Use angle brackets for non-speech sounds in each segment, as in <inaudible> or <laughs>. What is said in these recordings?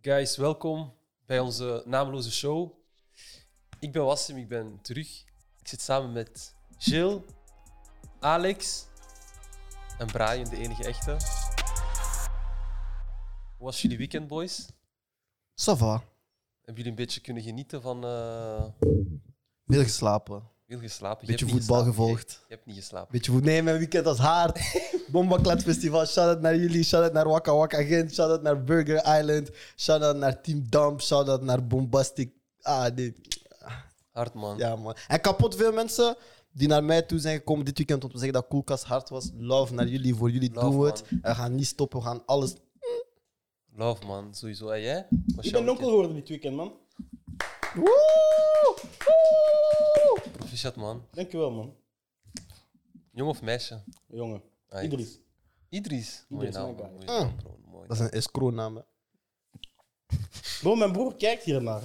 Guys, welkom bij onze nameloze show. Ik ben Wassim, ik ben terug. Ik zit samen met Jill, Alex en Brian, de enige echte. Hoe was jullie weekend, boys? Ça va. Hebben jullie een beetje kunnen genieten van... eh Veel geslapen. veel geslapen? Je Beetje hebt niet voetbal geslapen. gevolgd. Je, je hebt niet geslapen. Beetje goed. Nee, mijn weekend was <laughs> hard. Bombaklet Festival. Shout-out naar jullie. Shout-out naar Waka Waka Gent. Shout-out naar Burger Island. Shout-out naar Team Dump. Shout-out naar Bombastic. Ah, nee. Hard, man. Ja, man. En kapot veel mensen die naar mij toe zijn gekomen dit weekend om te zeggen dat Koelkast hard was. Love naar jullie. Voor jullie Love, doen we het. man. En we gaan niet stoppen. We gaan alles... Love, man. Sowieso. En jij? Was Ik jouw ben onkel weekend? geworden dit weekend, man. Woe! Woe! Proficiat, man. Dankjewel, man. Jong of meisje? Jongen. Ah, Idris. Idris. Mooie Idris, naam. my guy. man. Mooie Ah. naam, bro. Mooie Dat is een escrow-naam, hè. Bro, mijn broer kijkt hiernaar.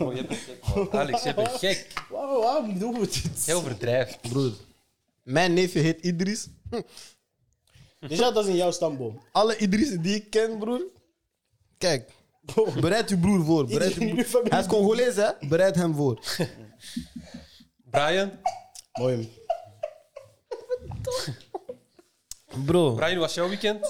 Oh, jij bent gek, man. Alex, jij bent gek. Waarom, waarom doen we dit? Jij overdrijft. Broer. Mijn neefje heet Idris. Déjà, dat is in jouw stamboom. alle Idrissen die ik ken, broer. Kijk, Bro, bereid uw broer voor. Bereid iedereen uw <laughs> in uw broer. familie. Hij is Congolees, hè? Bereid hem voor. Brian, Mooi. man. Bro, Brian, hoe was jouw weekend?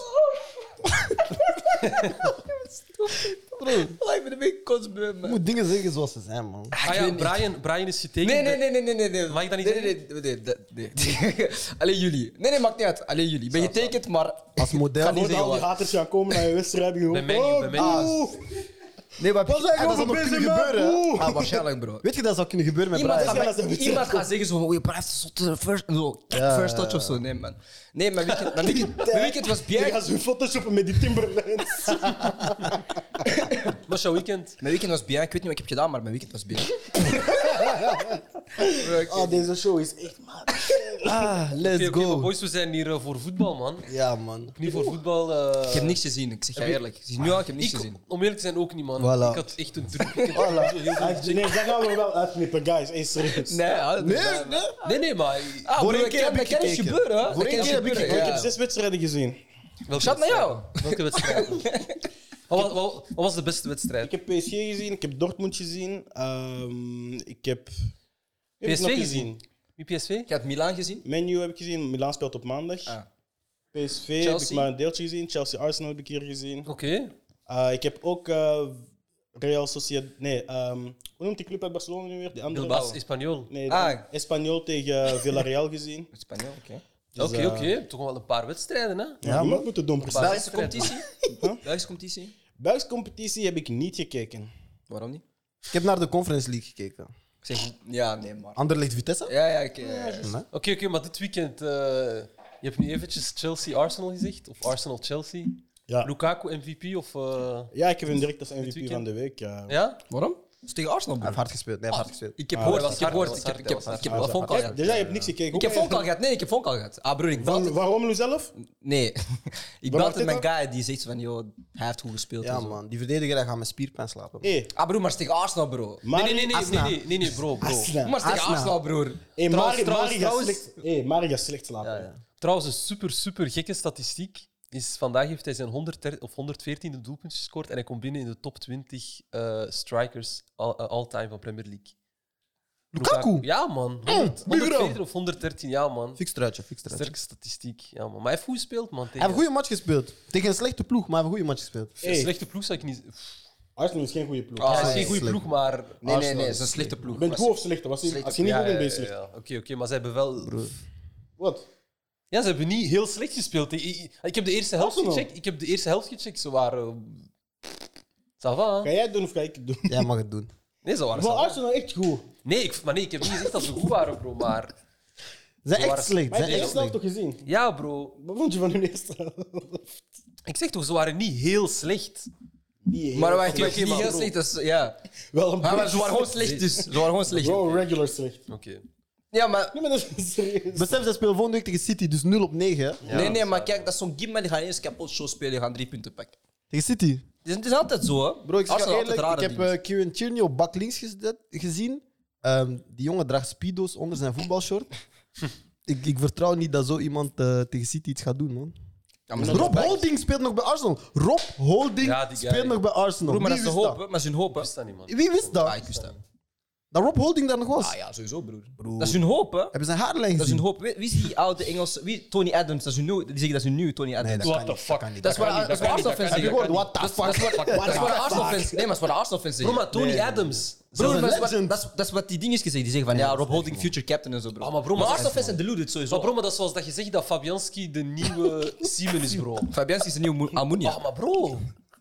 bro. Lijkt me de beetje kotsbeu, Je man. moet dingen zeggen zoals ze zijn, man. Ah ja, Brian, Brian is getekend. Nee, nee, nee, nee, nee, nee, nee. Mag ik dat niet nee, nee, nee, nee, dat- nee, nee. <laughs> Alleen jullie. Nee, nee, maakt niet uit. Alleen jullie. Ben getekend, maar... Als model. Ik kan niet Voordat zeggen al die waar. haters gaan komen naar je wedstrijd, "Oh, jongen. Bij mij niet, bij mij niet. Oh. Nee, maar Wat zijn Ah, dat zou nog we kunnen bezig, man? gebeuren. hè? Oeh. Ah, <laughs> waarschijnlijk, bro. Weet je, dat zou kunnen gebeuren met Iemand Brian. gaat, Ja, dat is een beetje- iemand gaat zeggen zo, oh, je blijft zo te first, zo, kijk, Ja, first ja, touch of zo. Nee, man. Nee, mijn weekend, mijn <laughs> weekend, mijn weekend was Je Bjerg. gaat zo photoshoppen met die Timberlands. Hoe was jouw weekend? Mijn weekend was Bjerg. Ik weet niet wat ik heb gedaan, maar mijn weekend was Bjerg. Ah, deze show is echt maat. <laughs> Ah, let's Oké, oké, maar go. boys, we zijn hier eh, voor voetbal, man. Ja, man. Niet voor voetbal. eh, Ik heb niks gezien, ik zeg je eerlijk. Ik zie nu al, ik heb niks gezien. Om eerlijk te zijn ook niet, man. Voilà. Ik had echt een druk <laughs> weekend. Voilà. Heel Ah, veel- Nee, daar gaan we wel uitknippen, guys. Hey, serieus. Nee, ja, dat- Nee, nee. Nee, nee, maar... Ah, Voor broer, één ik keer ken- heb dat ik ken eens gekeken. gebeuren, hè. Voor één Dat ken eens keer heb ik gebeuren, Ik gekeken. ja. heb zes wedstrijden gezien. Welke Shout naar jou. Welke wedstrijd? <laughs> wat, wa- wa- wat was de beste wedstrijd? Ik heb PSG gezien, ik heb Dortmund gezien. ehm, ik heb... Wie heb ik PSV nog gezien? Wie PSV? Ik heb Milaan gezien. Menu heb ik gezien, Milan speelt op maandag. Ah. PSV heb ik Chelsea. maar een deeltje gezien, Chelsea Arsenal heb ik hier gezien. Oké. Eh, ik heb ook eh, Real Sociedad. Nee, ehm, hoe noemt die club uit Barcelona nu weer? Die andere? Bilbao, Espanyol. Nee, Ah. Espanyol tegen eh, Villarreal gezien. Spanje, oké. Oké, Dus, oké. eh, Toch wel een paar wedstrijden, hè? Ja, maar moet het domper zijn. Belgische competitie? Belgische competitie? Belgische competitie heb ik niet gekeken. Waarom niet? Ik heb naar de Conference League gekeken. Ik zeg, ja, nee, maar. Anderlecht Vitesse? Ja, ja, ik. eh, Oké, oké, maar dit weekend. eh, je hebt nu eventjes Chelsea-Arsenal gezegd. Of Arsenal-Chelsea. Ja. Lukaku MVP of. eh, Ja, ik heb hem direct als MVP weekend? van de week. eh. ja? Waarom? Dat is tegen Arsenal, Hij heeft broer. hard gespeeld. Nee, hij heeft hard gespeeld. Ik heb Ah, gehoord, dat was ik heb hard, gehoord, dat was ik hard, heb ik heb- dat was ik heb hard. phone call Ja, gehad. Déjà, je dus hebt niks gekeken. Ik heb phone call gehad, nee, ik heb phone call gehad. Ah, broer, ik <laughs> belde... Waarom, waarom Lou zelf? Nee, <laughs> ik Waarom belde dit mijn guy die zegt van, joh, hij heeft goed gespeeld Ja, en zo. man. Die verdediger hij gaat met spierpijn slapen. Hé, Ah, broer, maar het is tegen Arsenal, bro. Mari, nee, nee, nee, nee, Asna. nee, nee, nee, bro. bro. Asna. Maar het is tegen Arsenal. Arsenal, broer. Hé, Trouwens, Mari, trouwens, Mari Eh, gaat trouwens. slecht- hé, Mari gaat slecht slapen. Ja, ja. Trouwens, een super, super gekke statistiek. Is vandaag heeft hij zijn 100 of 114e doelpunt gescoord. En hij komt binnen in de top 20 eh, strikers all- eh, all-time van Premier League. Lukaku. Ja, man. 100, 114 of 113, ja, man. Fix truitje, fix truitje. Sterke statistiek. Ja, man. Maar hij heeft goed gespeeld, man. Hij heeft Tegen een goede match gespeeld. Tegen een slechte ploeg, maar hij heeft een goede match gespeeld. een Hey. slechte ploeg zou ik niet. Pff, Arsenal is geen goede ploeg. Ah, hij is nee, geen goede slecht. ploeg, maar. Nee, nee, Arsenal nee, is het is een slechte Je ploeg. bent Was- goed of slecht? Was je, Slechte als je niet Ja, goed bent, ja, ben je ja, slecht. ja. Oké, oké, maar ze hebben wel. Wat? Ja, ze hebben niet heel slecht gespeeld. Ik, ik- ik heb de eerste helft Arsenal. gecheckt. Ik heb de eerste helft gecheckt. Ze waren. Ça va, Ga hè? jij het doen of ga ik het doen? Jij mag het doen. Nee, ze waren. Maar ça va. Arsenal echt goed. Nee, ik, maar nee, ik heb niet gezegd dat ze goed waren, bro. Maar Ze zijn waren- echt slecht. Maar Ze heb je zijn de echt eerste helft slecht. toch gezien? ja, bro. Wat vond je van hun eerste helft? Ik zeg toch, ze waren niet heel slecht. Die Ah, Maar heel wij Oké, waren oké, niet maar heel bro. slecht, dat is- ja. Wel een Maar maar ze waren gewoon slecht. slecht, dus. Ze waren gewoon slecht. Bro, regular slecht. Oké. Ja, maar... Nee, maar dat is serieus. Besef, ze spelen volgende week tegen City, dus 0 op 9. hè? Nee, nee, maar kijk, dat is zo'n Gimma, die gaan eens kapot show spelen, die gaan drie punten pakken. Tegen City. Het is, het is altijd zo, hè. Bro, ik zeg je Arsenal eerlijk, altijd ik rare heb dingen. eh, Kieran Tierney op bak links gezet- gezien. Ehm, die jongen draagt speedo's <laughs> onder zijn voetbalshort. ik, ik vertrouw niet dat zo iemand eh, tegen City iets gaat doen, man. Ja, maar Rob Holding speelt nog bij Arsenal. Rob Holding Ja, die guy. speelt nog bij Arsenal. Broer, maar dat Wie is een wist hoop, dat? hè. maar dat is hun hoop. hè. wist dat niet, man. Wie wist Ah, dat? ik wist dat. Dat Rob Holding daar nog was. Ah ja, sowieso, broer. Dat is hun hoop, hè. Hebben ze een haarlijn Dat is gezien? hun hoop. Wie, wie is die oude Engelse... Wie, Tony Adams, dat is hun nieuw, die zeggen dat is hun nieuw Tony Adams. Nee, dat What kan the niet, fuck? Dat kan niet. Dat is waar- kan niet, dat is dat waar kan Arsenal niet, dat fans kan Heb je zeggen. niet. gehoord? What the Dat is fuck? waar- dat is waar Arsenal fans Nee, maar dat is waar Arsenal fans Bro, zeggen. maar Tony Adams. Broer, Zelfs maar een dat, is wat, legend. dat, is, dat is wat die dingetjes zeggen. Die zeggen van ja, Rob Holding, future captain en zo, bro. Ah, maar bro, maar maar- Arsenal fans zijn deluded sowieso. Maar bro, maar dat is zoals dat je zegt dat Fabianski de <laughs> nieuwe Simon is, bro. Fabianski is een nieuw Mo- Almunia. Ah, maar bro.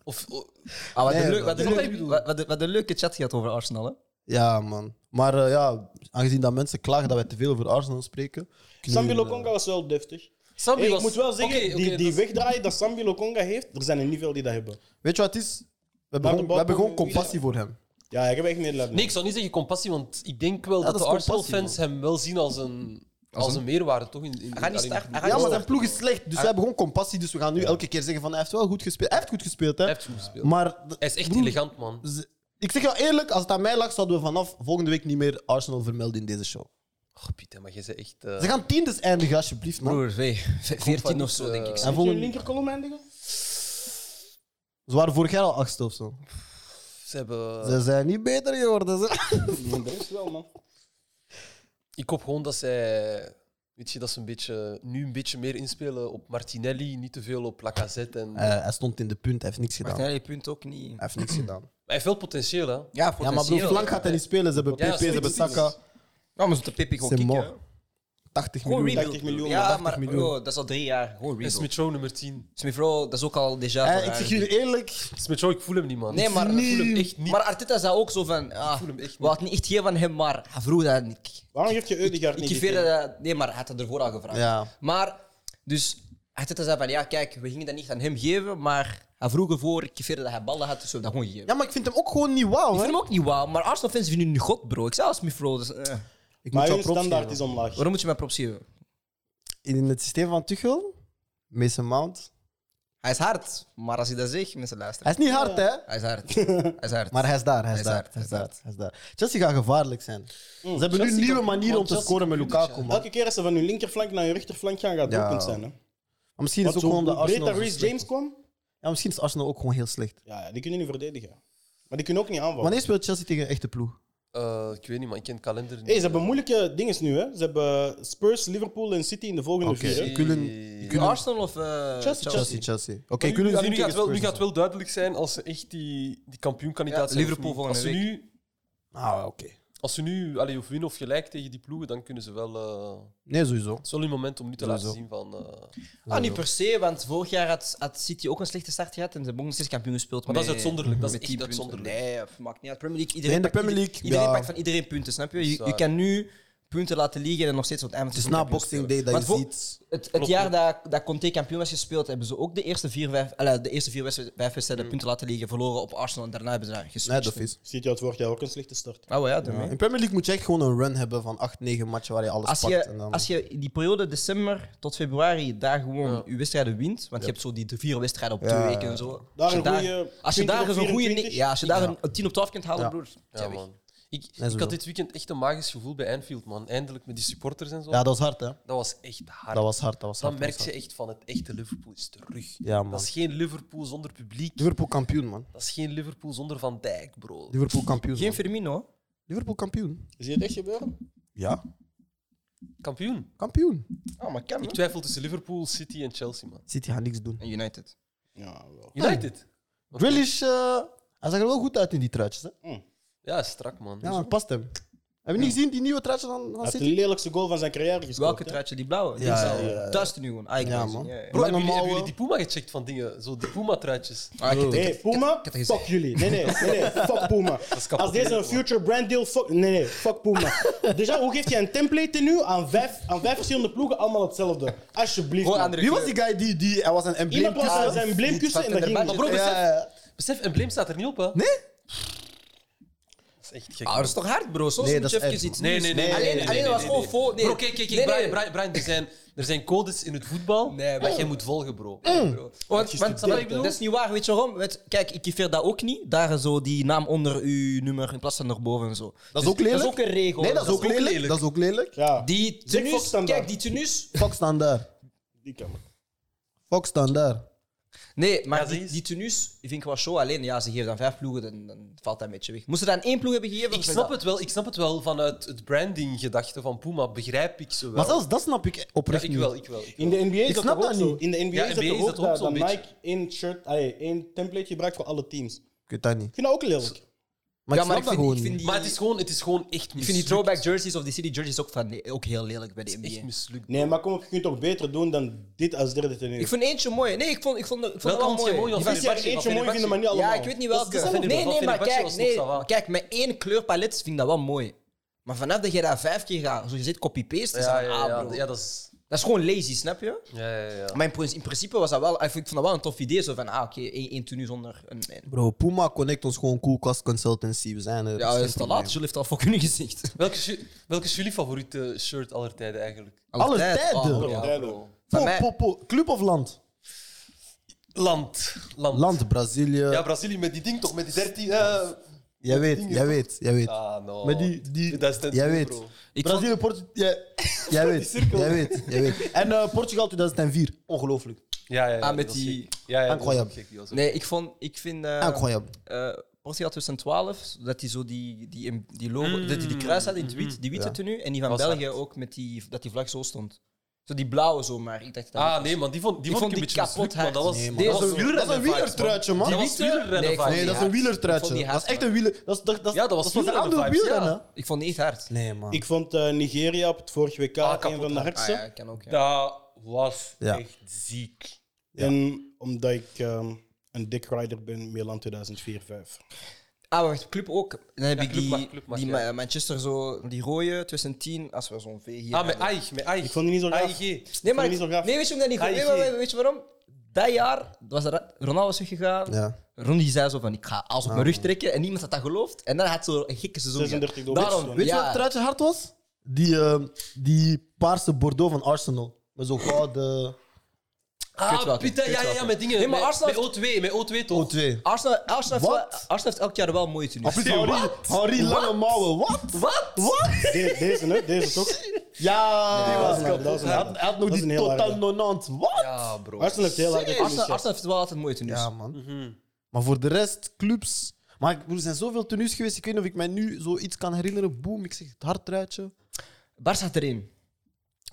Of, oh, Ah, wat, Nee, een leuk, wat, een dat- leuk- dat- wat- wat een- wat een leuke chat gehad over Arsenal, hè? Ja, man. Maar eh, ja, aangezien dat mensen klagen dat wij te veel over Arsenal spreken. Sambi Lokonga was wel deftig. Sambi Hey, ik was- moet wel zeggen, Oké, oké, die, die dat is- wegdraai dat Sambi Lokonga heeft, er zijn er niet veel die dat hebben. Weet je wat het is? We hebben, Maar gewoon, de we bal hebben komt gewoon nu- compassie voor hem. Ja, ik heb echt Nederland. Nee, ik zou niet zeggen compassie, want ik denk wel Ja, dat, dat de is compassie, Arsenal-fans hem wel zien als een, als een meerwaarde, toch? In, in, Hij gaat niet alleen- starten, hij gaat Ja, maar niet zijn ploeg is slecht, dus we hebben gewoon compassie. Dus we gaan nu elke keer zeggen van hij heeft wel goed gespeeld. Hij heeft goed gespeeld, hè. Hij heeft goed gespeeld. Maar d- Hij is echt broer, elegant, man. z- ik zeg jou eerlijk, als het aan mij lag, zouden we vanaf volgende week niet meer Arsenal vermelden in deze show. Oh, Pieter, maar jij bent echt... eh, Ze gaan tiendes eindigen, alsjeblieft, man. Broer, vee, ve- 14 of zo, denk ik. en Moet je een volgende, linkerkolom eindigen? ze waren vorig jaar al achtste of zo. Ze hebben... Ze zijn niet beter geworden. <laughs> Ze. Nee, dat is wel, man. Ik hoop gewoon dat zij... Weet je, dat ze een beetje, nu een beetje meer inspelen op Martinelli, niet te veel op Lacazette. En... Eh, hij stond in de punt, hij heeft niks gedaan. Hij Martinelli punt ook niet. heeft niks gedang. Hij heeft wel potentieel, hè? Ja, Ja, maar broer, flank gaat hij niet spelen. Ze hebben Ja, PP, ze hebben zoiets. Saka. Ja, maar ze moeten Pippi gewoon Ze kicken. mogen. hè. 80 Gewoon miljoen. rebuild. 80 miljoen, ja, 80 maar miljoen. bro, dat is al drie jaar. Gewoon En rebuild. Smith Rowe nummer 10. Smith Rowe, dat is ook al déjà. Eh, voor ik zeg eigenlijk. jullie eerlijk, Smith Rowe, ik voel hem niet, man. Nee, maar, ik voel hem echt niet. maar Arteta zei ook zo van. Ah, voel hem echt we hadden niet echt geen van hem, maar hij vroeg dat niet. Waarom geef je Eudegaard Ik niet? geef die dat. Nee, maar hij had het ervoor al gevraagd. Ja. Maar, dus Arteta zei van ja, kijk, we gingen dat niet aan hem geven, maar hij vroeg ervoor. Ik geef dat hij ballen had, dus we hebben dat gewoon gegeven. Ja, maar ik vind hem ook gewoon niet wauw. Ik hè. vind hem ook niet wauw, maar Arsenal fans vinden nu god, bro. Ik zei als Smith Rowe, dus, eh, Ik Maar moet jou hun props standaard geven. is omlaag. waarom moet je mij props geven? In het systeem van Tuchel, Mason Mount. Hij is hard, maar als hij dat zegt, mensen Hij luisteren. is niet hard, hè? Hij is <laughs> hard. hij is hard. Maar hij is daar, hij Hij is is daar, hard, hij is hij daar, hij is daar. Chelsea gaat gevaarlijk zijn. Ze hebben nu Chelsea nieuwe kan- manieren om te Chelsea scoren met kan- Lukaku, man. Elke keer als ze van hun linkerflank naar hun rechterflank gaan, gaat het Ja. doelpunt zijn. Hè? Maar misschien is Want het ook gewoon zo de breed Arsenal. dat zo Reece slecht James is. kwam, Ja, misschien is Arsenal ook gewoon heel slecht. ja, die kunnen niet verdedigen. Maar die kunnen ook niet aanvallen. Wanneer speelt Chelsea tegen een echte ploeg? Eh, ik weet niet, man. Ik ken de kalender niet. Hey, ze hebben moeilijke dingen nu. Hè? Ze hebben Spurs, Liverpool en City in de volgende Oké. vier. hè. Ik wil een- Eh, Nu Arsenal of eh, Chelsea? Chelsea, Chelsea. Oké, Oké, kunnen we nu, zien gaat tegen wel, nu Spurs gaat wel duidelijk zijn als ze echt die, die kampioenkandidaat Ja, zijn. of Liverpool niet. volgende als ze week. Nu, of zo? Ah, oké. als ze nu allee, of winnen of gelijk tegen die ploegen, dan kunnen ze wel. eh Nee, sowieso. het is wel een moment om nu te laten Sowieso. zien van. eh, Ah, niet per se, want vorig jaar had, had City ook een slechte start gehad en ze hebben ook nog steeds kampioen gespeeld. Maar dat is met- uitzonderlijk, dat is met echt 10 punten. uitzonderlijk. Nee, dat maakt niet uit. Premier League, Nee, iedereen, in de pakt, Premier ieder- League, iedereen ja. pakt van iedereen punten, snap je? Je, Dat je is kan nu punten laten liggen en nog steeds op het einde Het is van na het kampioen Boxing Day spelen. dat je Want voor- ziet. Het, het jaar dat, dat Conte kampioen was gespeeld, hebben ze ook de eerste vier, vijf, allee, de eerste vier wedstrijden vijf Mm. wedstrijden punten laten liggen, verloren op Arsenal en daarna hebben ze daar Nee, gespeeld. dat is. City had vorig jaar ook een slechte start. Oh ja, doe mee. In Premier League moet je echt gewoon een run hebben van 8, 9 matchen waar je alles Als pakt. je, en dan... als je die periode december tot februari daar gewoon Ja. je wedstrijden wint, want je hebt zo die vier wedstrijden op Ja, twee ja, weken ja. en zo. Daar Als je een goeie als je 20 daar of eens een goede 24? ja, als je daar een, een 10 op 12 kunt halen, Ja. broer, ja, zijn weg. man. Ik, ik sowieso. had dit weekend echt een magisch gevoel bij Anfield, man. Eindelijk met die supporters en zo. Ja, dat was hard, hè? Dat was echt hard. Dat was hard, dat was Dan hard. dat merk was je hard. echt van het echte Liverpool is terug. Ja, man. dat is geen Liverpool zonder publiek. Liverpool kampioen, man. Dat is geen Liverpool zonder Van Dijk, bro. Liverpool kampioen. Geen man. Firmino. Liverpool kampioen. Zie je het echt gebeuren? Ja, Kampioen. kampioen. Oh, maar kan Ik twijfel tussen Liverpool, City en Chelsea, man. City gaat niks doen. En United. Ja, wel. United. Grealish, eh, hij zag er wel goed uit in die truitjes. Hè? Ja, strak, man. Dus- Ja, man, past hem. Hebben we niet gezien die nieuwe truitjes van, van Hij heeft de City? lelijkste goal van zijn carrière gescoord. Welke hè? truitje? Die blauwe? Ja, Ja, ja, ja. Thuis nu gewoon. Ah, ik Ja, weet het. man. Ja, ja. Bro, hebben jullie, hebben Lange jullie die Puma gecheckt van dingen? Zo die Puma-truitjes. Ah, ik heb- Nee, Puma, heb het fuck jullie. Nee, nee, nee, nee, fuck Puma. is kapot Als deze geleden, een future brand deal, fuck. Nee, nee, fuck Puma. <laughs> Dus ja, hoe geef je een template nu aan vijf, aan vijf verschillende ploegen, allemaal hetzelfde? Alsjeblieft. Gewoon man. andere Wie was kleur. die guy die, die hij was een embleem? Iemand was aan Ja, zijn embleemkussen en dat ging. Maar bro, ja, besef, ja. Besef, embleem staat er niet op, hè? Nee? Dat is echt gek. Ah, dat is toch hard, bro? Soms Nee, dat moet je is even echt, iets Nee, nieuws- nee, nee. Alleen, nee, alleen nee, dat was nee, gewoon nee. voor... Nee. Bro, kijk, kijk, kijk. Nee, nee. Brian, Brian, Brian, er, zijn, er zijn codes in het voetbal Nee, dat maar- jij moet volgen, bro. Want, want snap wat ik bedoel? dat is niet waar, weet je waarom? Weet- kijk, ik kiveer dat ook niet. Daar zo die naam onder uw nummer in plaats van erboven en zo. Dat Dus is ook lelijk. Dat is ook een regel. Nee, dat is ook lelijk. Dat is ook lelijk. Ja, Die Zeg Fox tenues, dan kijk, dan. die tenues. Fox staan daar. die kan. Fox dan daar. Nee, maar Ja, die, die is- die tenues vind ik wel show. Alleen, ja, ze geven dan vijf ploegen, dan, dan valt dat een beetje weg. Moest ze dan één ploeg hebben gegeven? Ik dan snap vind het wel, ik snap het wel vanuit het branding-gedachte van Puma, begrijp ik ze wel. Maar zelfs dat snap ik ja, oprecht ik niet. wel, ik wel. ik wel. In de NBA is Ik dat snap toch ook dat zo. niet. In de NBA, Ja, is NBA dat is ook, dat ook dat, zo'n dat beetje. Nike één shirt, allee, één template gebruikt voor alle teams. Ik Ik weet dat niet. vind dat ook lelijk. Maar ja, ik maar snap ik dat vind, gewoon ik vind die, Maar het is gewoon, het is gewoon echt mislukt. ik vind die throwback jerseys of die city jerseys ook, van, ook heel lelijk bij de NBA. Echt mislukt. Nee, maar kom op, je kunt toch beter doen dan dit als derde tenue. Ik vond eentje mooi. Nee, ik vond, ik vond, ik vond Welke wel vond je mooi. mooi Die als was- je- Als je er eentje mooi vindt, maar niet allemaal. ja, ik weet niet Dat is welke. dezelfde Nee, ding, nee, van maar Fenerbahce kijk, was het nee, nog zo maar van. kijk, met één kleurpalet vind ik dat wel mooi. Maar vanaf dat je dat vijf keer gaat, zoals je zit, copy-paste, is Ja, dat ja, een ja, A, ja, Ah, bro. ja, dat is... Dat is gewoon lazy, snap je? Ja, ja, ja. Maar in, prin- in principe was dat wel, ah, ik vond ik vond dat wel een tof idee. Zo van, ah, oké, één, één tenue zonder een... een- Bro, Puma connect ons gewoon Coolcast Consultancy. We zijn er. Ja, dat is te laat. Jules heeft al voor <laughs> kunnen gezegd. Welke, ju- welke is jullie favoriete shirt aller tijden eigenlijk? Alle tijden. Oh, Alle ja, bro. Van Po, mij- po, po. Club of land? Land. Land. Land, Brazilië. Ja, Brazilië met die ding toch, met die 13. eh, jij weet, jij weet, jij weet. Ah, no. Maar die- die- dat is ten jij toe, weet. bro. Ik vond- Brazilië, Portugal. Jij, jij weet, jij weet, jij weet. En eh, Portugal 2004. Ongelooflijk. Ja, ja, ja. Ah, met die was die- gek. Ja, ja, die was Incroyable. ook gek, die was ook- Nee, ik vond... Ik vind... eh, Incroyable. eh Portugal 2012, dat die zo die, die, die logo, Mm. dat die, die kruis had in het wit, die witte Ja. tenue. En die van Was België hard. ook, met die, dat die vlag zo stond. Zo die blauwe zo, maar ik dacht dat Ah, nee, man, die vond, die Ik vond vond ik die een beetje kapot mislukt, man. hard. Dat was, Nee, man. dat Deze- was dat Dat is een wielrennen wielertruitje, man. Die Die was witte- wielrennen Nee, ik vond vibes. Nee, dat is een hard. wielertruitje. Ik vond die Dat hard, is echt een wieler. Dat is, dat, dat, Ja, dat was dat een wielrennen andere vibes, wielrennen. ja. Ik vond die echt hard. Nee, man. Ik vond eh, Nigeria op het vorige WK Ah, een kapot, van de man. Ah hardste. ja, kan ook. Ja. Dat was Ja. echt ziek. Ja. En omdat ik ehm, een dick rider ben, Milan 2004-5. Ah, wacht, club ook. Dan heb Ja, ik club die, mag, club mag, die ja. Ma- Manchester zo, die rode 2010, als we zo'n V hier Ah, met hebben. Aig, met Aig. Ik vond die niet zo gaaf. AIG. Nee, vond maar die ik- niet zo gaaf. nee, weet je, omdat niet, AIG. nee, maar weet je waarom? Dat jaar was er, Ronaldo was weggegaan. Ja. Ronnie zei zo van, ik ga alles op mijn rug trekken. En niemand had dat geloofd. En dan had zo een gekke seizoen. 36 door. Daarom, Weet je ja. wat het truitje hard was? Die, ehm, die paarse Bordeaux van Arsenal. Met zo'n gouden Ik weet Ah, welke, Pita, ik ja, weet ja, ja, welke. met dingen. Nee, maar Met- Arsenal Met O2, met O2 toch? O2. Arsenal, Arsenal, heeft, wel- Wat? Arsenal heeft elk jaar wel mooie tenues. Plus Henri, Henri lange mouwen. Wat? Wat? De- deze, hè? Deze <laughs> toch? Ja, die was kapot. Hij had, hij had nog Dat is een die heel totaal harde. nonant. Wat? Ja, bro. Arsenal heeft heel hard Serieus? gekomen, Arsenal, chef. Arsenal heeft wel altijd mooie tenues. Ja, man. Maar voor de rest, clubs. Maar ik- er zijn zoveel tenues geweest. Ik weet niet of ik mij nu zoiets kan herinneren. Boom, ik zeg het hartruitje. Barça had erin.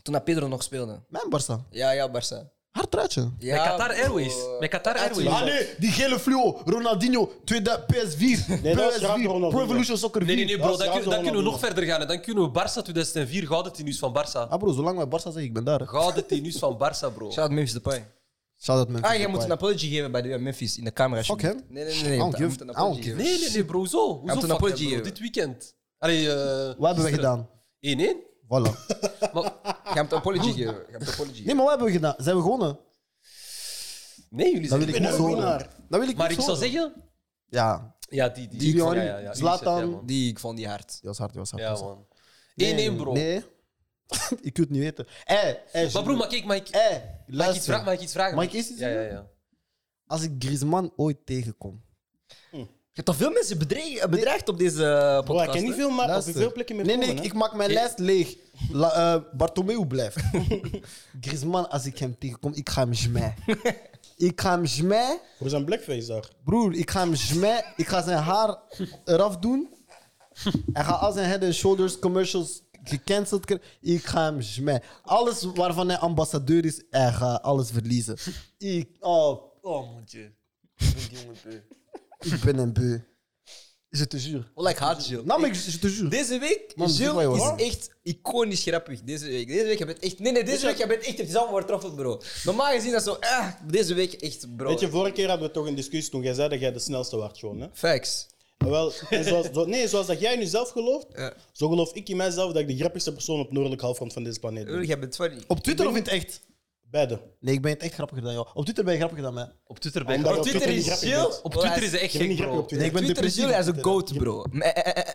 Toen dat Pedro nog speelde. Mijn Barça. Ja, ja, Barça. Hartruitje. Ja, met Qatar bro. Airways. Met Qatar Uiteraard. Airways. Ah nee, die gele fluo. Ronaldinho, tweede PS4. Nee, dat is Ronaldo, PS4. Pro Ronaldo. Evolution Soccer 4. Nee, nee, nee, bro. Dat is Dan, kun- Ronaldo dan kunnen we nog Ronaldo. verder gaan. En dan kunnen we Barça 2004, gouden tenues van Barça. Ah bro, zolang wij Barça zeggen, ik ben daar. hè. Gouden tenues van Barça, bro. Shout out Memphis Depay. Shout-out Memphis Ah, jij moet Depay. een apology geven bij de Memphis in de camera. Fuck alsjeblieft. hem. Nee, nee, nee. nee. I Je don't moet- je moet give- een I don't apology give- geven. Nee, nee, nee, bro. Zo. Hoezo Heb je een fuck apology hem, bro? gegeven? Dit weekend. Allee, eh, Wat hebben we gedaan? 1-1. Voilà. Maar- Je moet een apology geven. Je moet een apology Nee, maar wat hebben we gedaan? Zijn we gewonnen? Nee, jullie Dat zijn wil ik ben niet een horen. winnaar. Dat wil ik Maar niet ik zou horen. zeggen... Ja, Ja, die... die, Die Lion, ja, ja, ja, jullie Zlatan. zeggen, ja, man. Die, ik vond die hard. die was hard, die was hard. Ja, die was hard. man. 1-1, bro. Nee. <laughs> ik wil het niet weten. Hé, hé, Maar bro, mag ik, mag ik, Hé, mag ik, iets, luister. vragen, mag ik iets vragen? Mag ik eerst iets ja, ja, zeggen? ja. Als ik Griezmann ooit tegenkom. Je hebt toch veel mensen bedreigd, bedreigd op deze Bro, podcast? ik ken niet veel, maar Ah, op luister. veel plekken meer Nee, nee, komen, ik, hè. ik maak mijn lijst leeg. La, eh, Bartomeu <laughs> blijft. Griezmann, als ik hem tegenkom, ik ga hem smijten. ik ga hem smijten. Voor zijn blackface daar. Broer, ik ga hem smijten. Ik ga zijn haar eraf doen. Hij gaat al zijn head and shoulders commercials gecanceld krijgen. Ik ga hem smijten. Alles waarvan hij ambassadeur is, hij gaat alles verliezen. Ik, oh, Oh, mondje. ik ben een beu. Je te jure. Well, like hard, Jill. Nou, maar ik, je te jure. Deze week, Man, zeg maar, Jill jongen. is echt iconisch grappig. Deze week. Deze week heb je het echt. Nee, nee, deze week heb je het echt op jezelf overtroffen, bro. Normaal gezien dat zo. Eh, deze week echt, bro. Weet je, vorige keer hadden we toch een discussie toen jij zei dat jij de snelste werd, John. Hè? Facts. En Wel, en zoals, zo- nee, zoals dat jij nu zelf gelooft, zo geloof ik in mijzelf dat ik de grappigste persoon op noordelijk halfrond van deze planeet ben. Jullie hebben het funny. Op Twitter of in het echt? Beide. Nee, ik ben het echt grappiger dan jou. Op Twitter ben je grappiger dan mij. Op Twitter ben ik... Omdat Op je Twitter- Twitter niet is grappig Jill. bent. Op Bro, hij Twitter is is- hij echt Je bent gek, niet bro. grappig Nee, op Twitter. ik ben Twitter is depressief. Jill, hij is op een Twitter. goat, bro. Eh, eh, eh, eh.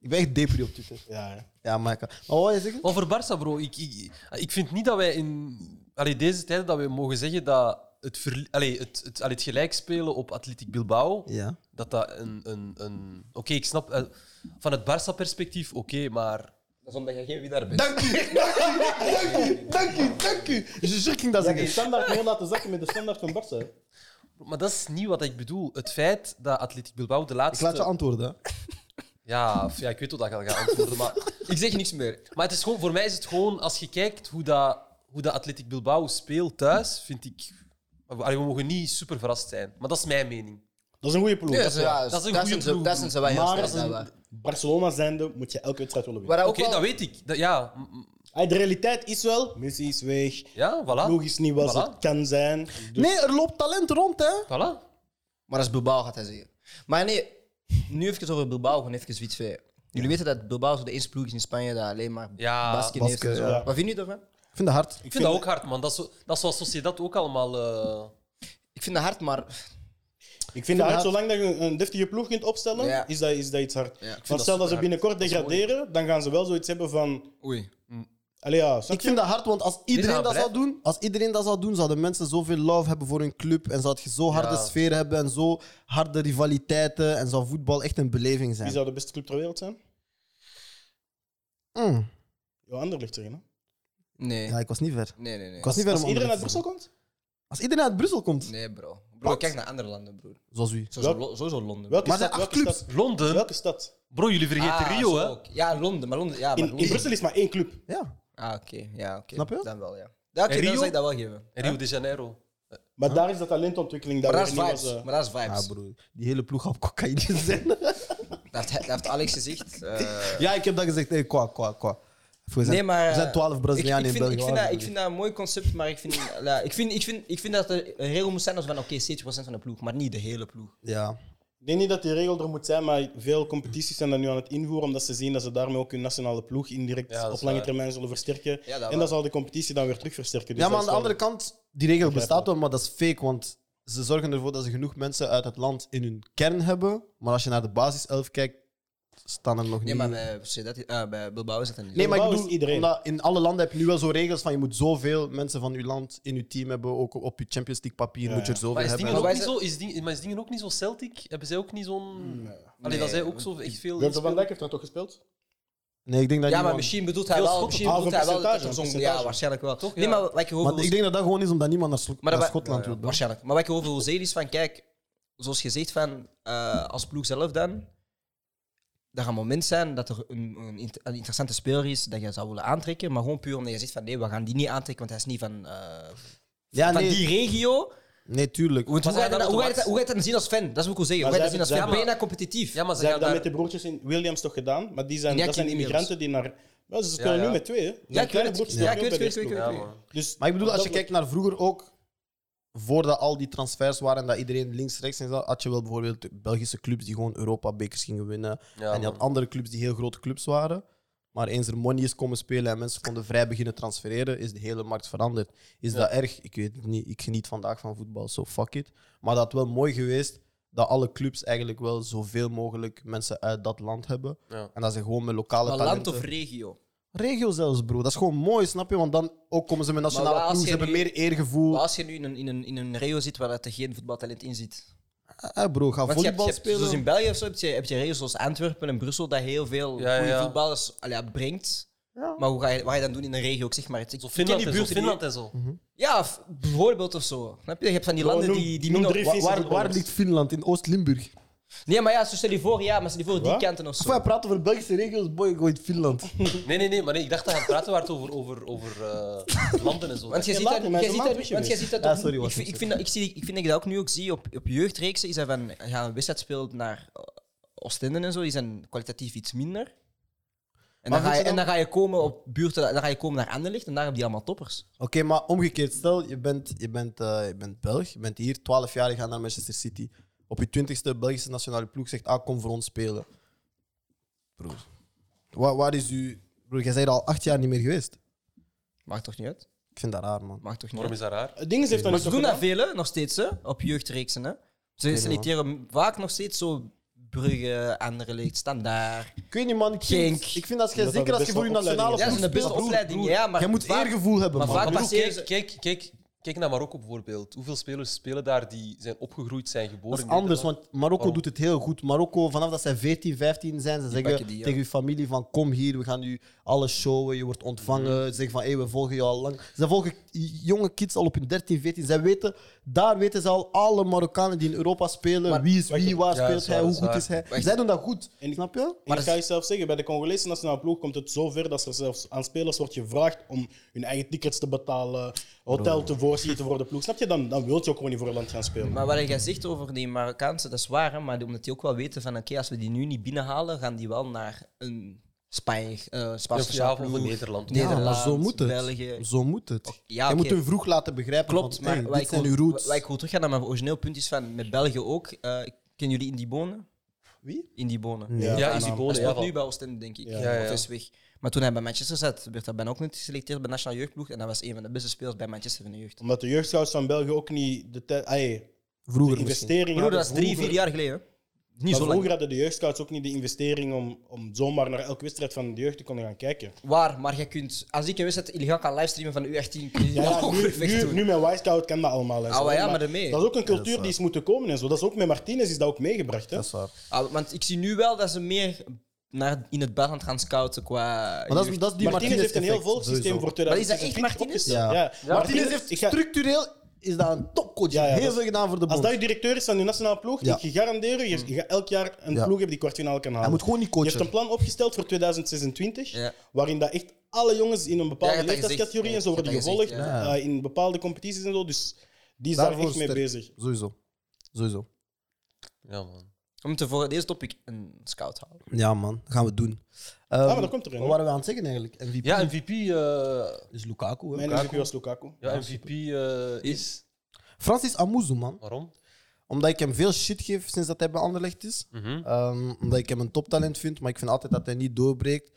Ik ben echt depri op Twitter. Ja, ja. Ja, maar ik kan... Maar wat wil je zeggen? Over Barça, bro. Ik, ik, ik vind niet dat wij in allee, deze tijden dat we mogen zeggen dat het, verli- allee, het, het, allee, het gelijkspelen op Atletiek Bilbao, Ja. dat dat een... een, een Oké, ik snap... eh, van het Barça-perspectief, oké, maar... Dat is omdat jij geen winnaar bent. Dank u, dank u, dank u, dank u. Je zegt dat Dat ze is de standaard gewoon laten zakken met de standaard van Barca. hè. Maar dat is niet wat ik bedoel. Het feit dat Atletico Bilbao de Ik laatste... laat je antwoorden. hè. ja, of- ja, ik weet hoe dat gaat antwoorden, maar... Ik zeg niks meer. Maar het is gewoon, voor mij is het gewoon, als je kijkt hoe dat, hoe dat Athletic Bilbao speelt thuis, vind ik. Allee, we mogen niet super verrast zijn. Maar dat is mijn mening. Dat is een goede ploeg. Ja, dat is zo, waar. ja, dat is een daar goede zijn ze- ploeg. Daar zijn ze wel heel maar sterk. als dat een wel. Barcelona zijnde moet je elke wedstrijd willen winnen. Maar ook Oké, wel- dat weet ik. Dat, ja, m- m- Hey, De realiteit is wel, Messi is weg. ja, voilà. Ploeg is niet wat Voilà. het kan zijn. Dus Nee, er loopt talent rond, hè? Voilà. Maar als Bilbao gaat hij zeggen. Maar nee, nu even over Bilbao, gewoon even iets verder. Jullie weten dat Bilbao zo de eerste ploeg is in Spanje dat alleen maar Ja, Basken heeft. Basken, en zo. ja. Wat vind je daarvan? Ik vind het hard. Ik vind dat ook hard, man. Dat is, zo- dat is zoals Sociedad ook allemaal. eh, Ik vind dat hard, maar Ik vind dat hard, dat- zolang dat je een deftige ploeg kunt opstellen, Ja. is, dat, is dat iets hard. vind Want dat stel dat ze superhard. binnenkort degraderen, dan gaan ze wel zoiets hebben van... oei. Allee, ja, snap Ik je? vind dat hard, want als iedereen gaan dat zou blijven. doen, als iedereen dat zou doen, zouden mensen zoveel love hebben voor hun club en zou je zo harde Ja. sfeer hebben en zo harde rivaliteiten en zou voetbal echt een beleving Wie zijn. zou de beste club ter wereld zijn? Mm. Jouw ander ligt erin. Hè? Nee. Ja, ik was niet ver. Nee, nee, nee. Ik was niet ver Als om iedereen uit onderuit te Brussel komt? zijn. Als iedereen uit Brussel komt, Nee, bro. Bro, kijk naar andere landen, broer. zoals u. Sowieso, Welk- Lo- sowieso Londen. Welke Maar er stad? zijn acht welke clubs. stad? Londen? Welke stad? Bro, jullie vergeten Ah, Rio, zo hè? ook. Ja, Londen, maar Londen. Ja, maar In, Londen. in Brussel is maar één club. Ja. Ah, oké. Ja, oké. Snap je? Dan wel, ja. Ja, oké, En dan Rio? zou ik dat wel geven. En Rio de Janeiro. Maar daar is dat talentontwikkeling. Maar daar dat is weer niet vibes. was, eh, Maar dat is vibes. Ja, broer. Die hele ploeg op <laughs> cocaïne zijn. dat, heeft, dat heeft Alex gezegd. eh, ja, ik heb dat gezegd. Hey, qua, qua, qua. We zijn, nee, maar, eh, er zijn 12 Brazilianen ik, ik in vind, België. Ik vind, dat, ik vind dat een mooi concept, maar ik vind, <laughs> ja, ik vind, ik vind, ik vind dat er een regel moet zijn als van oké, 70% van de ploeg, maar niet de hele ploeg. Ja. Ik denk niet dat die regel er moet zijn, maar veel competities zijn dat nu aan het invoeren, omdat ze zien dat ze daarmee ook hun nationale ploeg indirect Ja, dat is op lange waar. termijn zullen versterken. Ja, dat en waar. dat zal de competitie dan weer terug versterken. Dus Ja, maar dat aan is de wel- andere kant, die regel Begrijp bestaat wel. wel, maar dat is fake, want ze zorgen ervoor dat ze genoeg mensen uit het land in hun kern hebben. Maar als je naar de basiself kijkt, staan er nog Nee, niet. maar bij, Sociedad- eh, bij Bilbao is dat dan niet. Nee, maar ik Bilbao bedoel, is iedereen. omdat in alle landen heb je nu wel zo regels van je moet zoveel mensen van je land in je team hebben. Ook op je Champions League papier Ja, moet je er ja. Maar zoveel is hebben. dingen ook Maar niet wij zo, is dingen, maar is dingen ook niet zo Celtic? Hebben zij ook niet zo'n. Allee, Nee. dat zij ook zo echt veel. Virgil van inspelen? Dijk heeft dat toch gespeeld? Nee, ik denk dat Ja, maar niemand- misschien bedoelt hij Heel wel, Schotland. misschien Ah, bedoelt voor hij wel dat er percentage, zo'n- voor Ja, percentage. waarschijnlijk wel. Toch, Nee, ja. maar wat je hoort Want ik denk dat dat gewoon is omdat niemand naar, Slo- Maar naar dat wij- Schotland Ja, ja. wil. Waarschijnlijk. Maar wat ik over wil zeggen is van, kijk, zoals je zegt van, eh, als ploeg zelf dan, dat gaat een moment zijn dat er een, een, inter- een interessante speler is dat je zou willen aantrekken, maar gewoon puur omdat je zegt van, nee, we gaan die niet aantrekken, want hij is niet van, eh, Ah, Ja, van nee, die regio. nee, tuurlijk. Want hoe zij ga je dat- hebben hoe ga je dat dat- hoe ga je dat dan zien als fan? Dat is wat ik wil zeggen. Maar Hoe ga je dat zien zij als fan? hebben- Ben je dan competitief? Ja, maar Ze ze hebben gaan dat daar... met de broertjes in Williams toch gedaan, maar die zijn, Jackie dat zijn Williams. immigranten die naar... Wel, ze spelen Ja, ja. nu met twee, hè? Ze zijn Ja, ik weet kleine het. broertjes die Ja, ik weet het, spelen ik weet het, bij ik Ja, weet man. deze ploeg. Dus Maar ik bedoel, als je dat- kijkt naar vroeger ook, voordat al die transfers waren en dat iedereen links, rechts en zo, had je wel bijvoorbeeld Belgische clubs die gewoon Europa-bekers gingen winnen. Ja, en je had man. andere clubs die heel grote clubs waren. Maar eens er money is komen spelen en mensen konden vrij beginnen transfereren, is de hele markt veranderd. Is dat erg? Ik weet het niet. Ik geniet vandaag van voetbal, so fuck it. Maar dat had wel mooi geweest dat alle clubs eigenlijk wel zoveel mogelijk mensen uit dat land hebben. Ja. En dat ze gewoon met lokale Maar land talenten... of regio? Regio zelfs, bro. Dat is gewoon mooi, snap je? Want dan ook komen ze met Maar nationale waar als ploeg, ze je hebben nu- meer eergevoel. Maar als je nu in een, in een, in een regio zit waar dat er geen voetbaltalent in zit. Ah, bro, ga Want je hebt, volleybal je hebt- spelen. zoals in België of zo, heb je, heb je regio's zoals Antwerpen en Brussel dat heel veel Ja, goede ja. voetballers allee, ja, brengt. Maar hoe ga, je, wat ga je dan doen in een regio? Ik zeg maar, het- ik, Zo ik ken Finland die en zo. buurt Mhm. Finland en zo. Ja, f- bijvoorbeeld of zo. Snap je? Je hebt van die Noem- landen noem- die, die noem minder- drie Wa- Finse waar, waar voetballers. ligt Finland? In Oost-Limburg. Nee, maar ja, zo stel je voor, ja, maar stel je voor die Wat? kanten of Of zo. wij praten over Belgische regio's, boy, ik gooi het Finland. Nee, nee, nee. Maar nee, ik dacht dat we aan het praten waren over, over, over eh, landen en zo. Want jij Ja, ziet laat dat, hem, hij jij is ziet een maand dat, want jij weg ziet dat Ja, ook- Ah, sorry, was ik, vind- niet ik, vind dat, ik, zie, ik vind dat ik dat ook nu ook zie op, op jeugdreeksen. Is dat van, ja, een wedstrijd speelt naar eh, Oostende en zo, die zijn kwalitatief iets minder. En Maar dan, ga vind je, je en dan- dan ga je komen op buurten, dan ga je komen naar Anderlecht en daar hebben die allemaal toppers. Oké, maar omgekeerd, stel je bent, je, bent, eh, je bent Belg, je bent hier 12 jaar, je gaat naar Manchester City. Op je 20ste Belgische nationale ploeg zegt: Ah, kom voor ons spelen. Broer, waar, waar is u. Broer, jij bent er al acht jaar niet meer geweest. Maakt toch niet uit? Ik vind dat raar, man. Maakt toch niet Waarom uit? is dat raar? Het ding is, heeft dat Maar niet ze zo doen dat gedaan. veel, hè, nog steeds, hè, op jeugdreeksen. Hè. Ze niet, selecteren vaak nog steeds zo Brugge, Anderlecht, Standaard. Ik weet niet, man. Ik Genk. vind, ik vind dat jij Omdat dat zeker als je de beste voor je nationale opleiding Ja, ploeg ze zijn de beste speelt, broer, opleiding. broer, Ja, maar Jij moet vaak- eergevoel hebben, maar man. vaak Maar Broer, broer, passeren kijk, ze- kijk, kijk, Kijk naar Marokko bijvoorbeeld. Hoeveel spelers spelen daar die zijn opgegroeid, zijn geboren? Dat is in anders, Nederland? want Marokko Waarom? doet het heel goed. Marokko, vanaf dat zij 14, 15 zijn, ze zeggen pakken Oh. die, ja. tegen je familie van kom hier, we gaan u alles showen, je wordt ontvangen. Mm. Ze zeggen van hé, we volgen je al lang. Ze volgen jonge kids al op hun 13, 14. Zij weten, daar weten ze al alle Marokkanen die in Europa spelen, wie is wie, waar Ja, dat speelt is hij, waar, hoe dat is goed is hij. Wacht. Zij doen dat goed, En ik- snap je? Maar ik ga je zelf zeggen, bij de Congolese nationale ploeg komt het zo ver dat er zelfs aan spelers wordt gevraagd om hun eigen tickets te betalen, hotel te voorzien te voor de ploeg. Snap je? Dan, dan wil je ook gewoon niet voor een land gaan spelen. Maar wat jij zegt over die Marokkaanse, dat is waar, hè? maar omdat die ook wel weten van oké, als we die nu niet binnenhalen, gaan die wel naar een Spanje, eh Spaanse Ja, of ploeg. Nederland. Nederland, maar zo moet het. België. Zo moet het. ja, je moet oké. hun vroeg laten begrijpen Klopt, van, maar hey, waar dit ik zijn wil- uw roots. waar ik wil teruggaan naar mijn origineel punt is van met België ook. eh kennen jullie Indiebone? Wie? Indiebone. Ja, Ja, is die nou, Hij bonen. speelt Ja, nu van- bij Oostende, denk ik. Ja. Ja, ja. Of is weg. Maar toen hij bij Manchester zat, werd hij bijna ook niet geselecteerd bij de nationale jeugdploeg. En dat was een van de beste spelers bij Manchester van de jeugd. Omdat de jeugdscouts van België ook niet de, te- ay, de Vroeger misschien. investering Broer, hadden dat is drie, vroeger. vier jaar geleden. hè. Niet Maar zo vroeger lang. hadden de jeugdscouts ook niet de investering om, om zomaar naar elke wedstrijd van de jeugd te kunnen gaan kijken. Waar, maar je kunt, als ik een wedstrijd illegaal kan livestreamen van U18, kun je Ja, dat ja, ook <laughs> nu, perfect nu, doen. nu met Wisecout kan dat allemaal. hè, Ah, zo, ja, hè, maar daarmee. Dat is ook een cultuur die is moeten komen en zo. Dat is ook met Martinez is dat ook meegebracht. Hè? Dat is waar. Ah, want ik zie nu wel dat ze meer naar, in het buitenland gaan scouten qua. Maar dat is, jeugd. dat is die Martinez, heeft een heel Martinez-effect, volksysteem sowieso. voor Maar is dat echt 2020 Martinez? opgesteld. Ja. Martinez heeft ik ga- structureel is dat een topcoach. Ja, ja, heel dat- veel gedaan voor de Als bond. dat je directeur is van je nationale ploeg, Ja. ik je garandeer je, je gaat elk jaar een Ja. ploeg hebben die kwartfinale kan halen. Hij moet gewoon niet coachen. Je hebt een plan opgesteld voor 2026, Ja. waarin dat echt alle jongens in een Ja, bepaalde je hebt dat leeftijdscategorie en gezegd. zo worden Je hebt dat gevolgd, gezegd, ja. eh, in bepaalde competities en zo. Dus die is daar echt mee sterk. bezig. Sowieso. Sowieso. Ja, man. We moeten voor deze topic een scout houden. Ja, man. Gaan we doen. Ehm, Ah, maar dat komt erin. Wat hè. waren we aan het zeggen eigenlijk? MVP Ja, MVP, eh, is Dus Lukaku. Hè? Mijn MVP was Lukaku. ja, MVP eh, is. Francis Amuzu, man. Waarom? Omdat ik hem veel shit geef sinds dat hij bij Anderlecht is. Ehm, omdat ik hem een toptalent vind, maar ik vind altijd dat hij niet doorbreekt.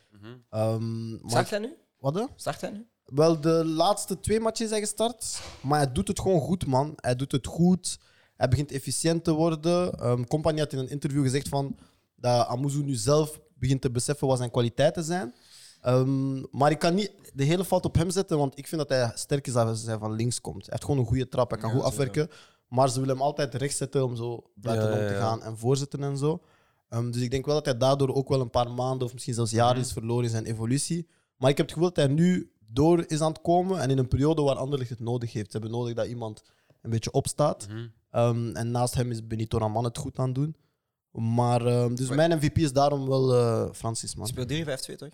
Ehm, maar- Start hij nu? wat hè? Start hij nu? Wel, de laatste twee matches zijn gestart. Maar hij doet het gewoon goed, man. Hij doet het goed. Hij begint efficiënt te worden. Ehm Compagnie had in een interview gezegd van, dat Amuzu nu zelf begint te beseffen wat zijn kwaliteiten zijn. Ehm, maar ik kan niet de hele fout op hem zetten, want ik vind dat hij sterk is als hij van links komt. Hij heeft gewoon een goede trap, hij kan goed afwerken. Maar ze willen hem altijd rechts zetten om zo buitenom ja, te ja. gaan en voorzetten en zo. Ehm, dus ik denk wel dat hij daardoor ook wel een paar maanden of misschien zelfs Mhm. jaren is verloren in zijn evolutie. Maar ik heb het gevoel dat hij nu door is aan het komen en in een periode waar Anderlecht het nodig heeft. Ze hebben nodig dat iemand een beetje opstaat. Ehm, en naast hem is Benito Raman het goed aan het doen. Maar, ehm, dus mijn MVP is daarom wel eh, Francis, man. Hij speelt 3, 5, 2 toch?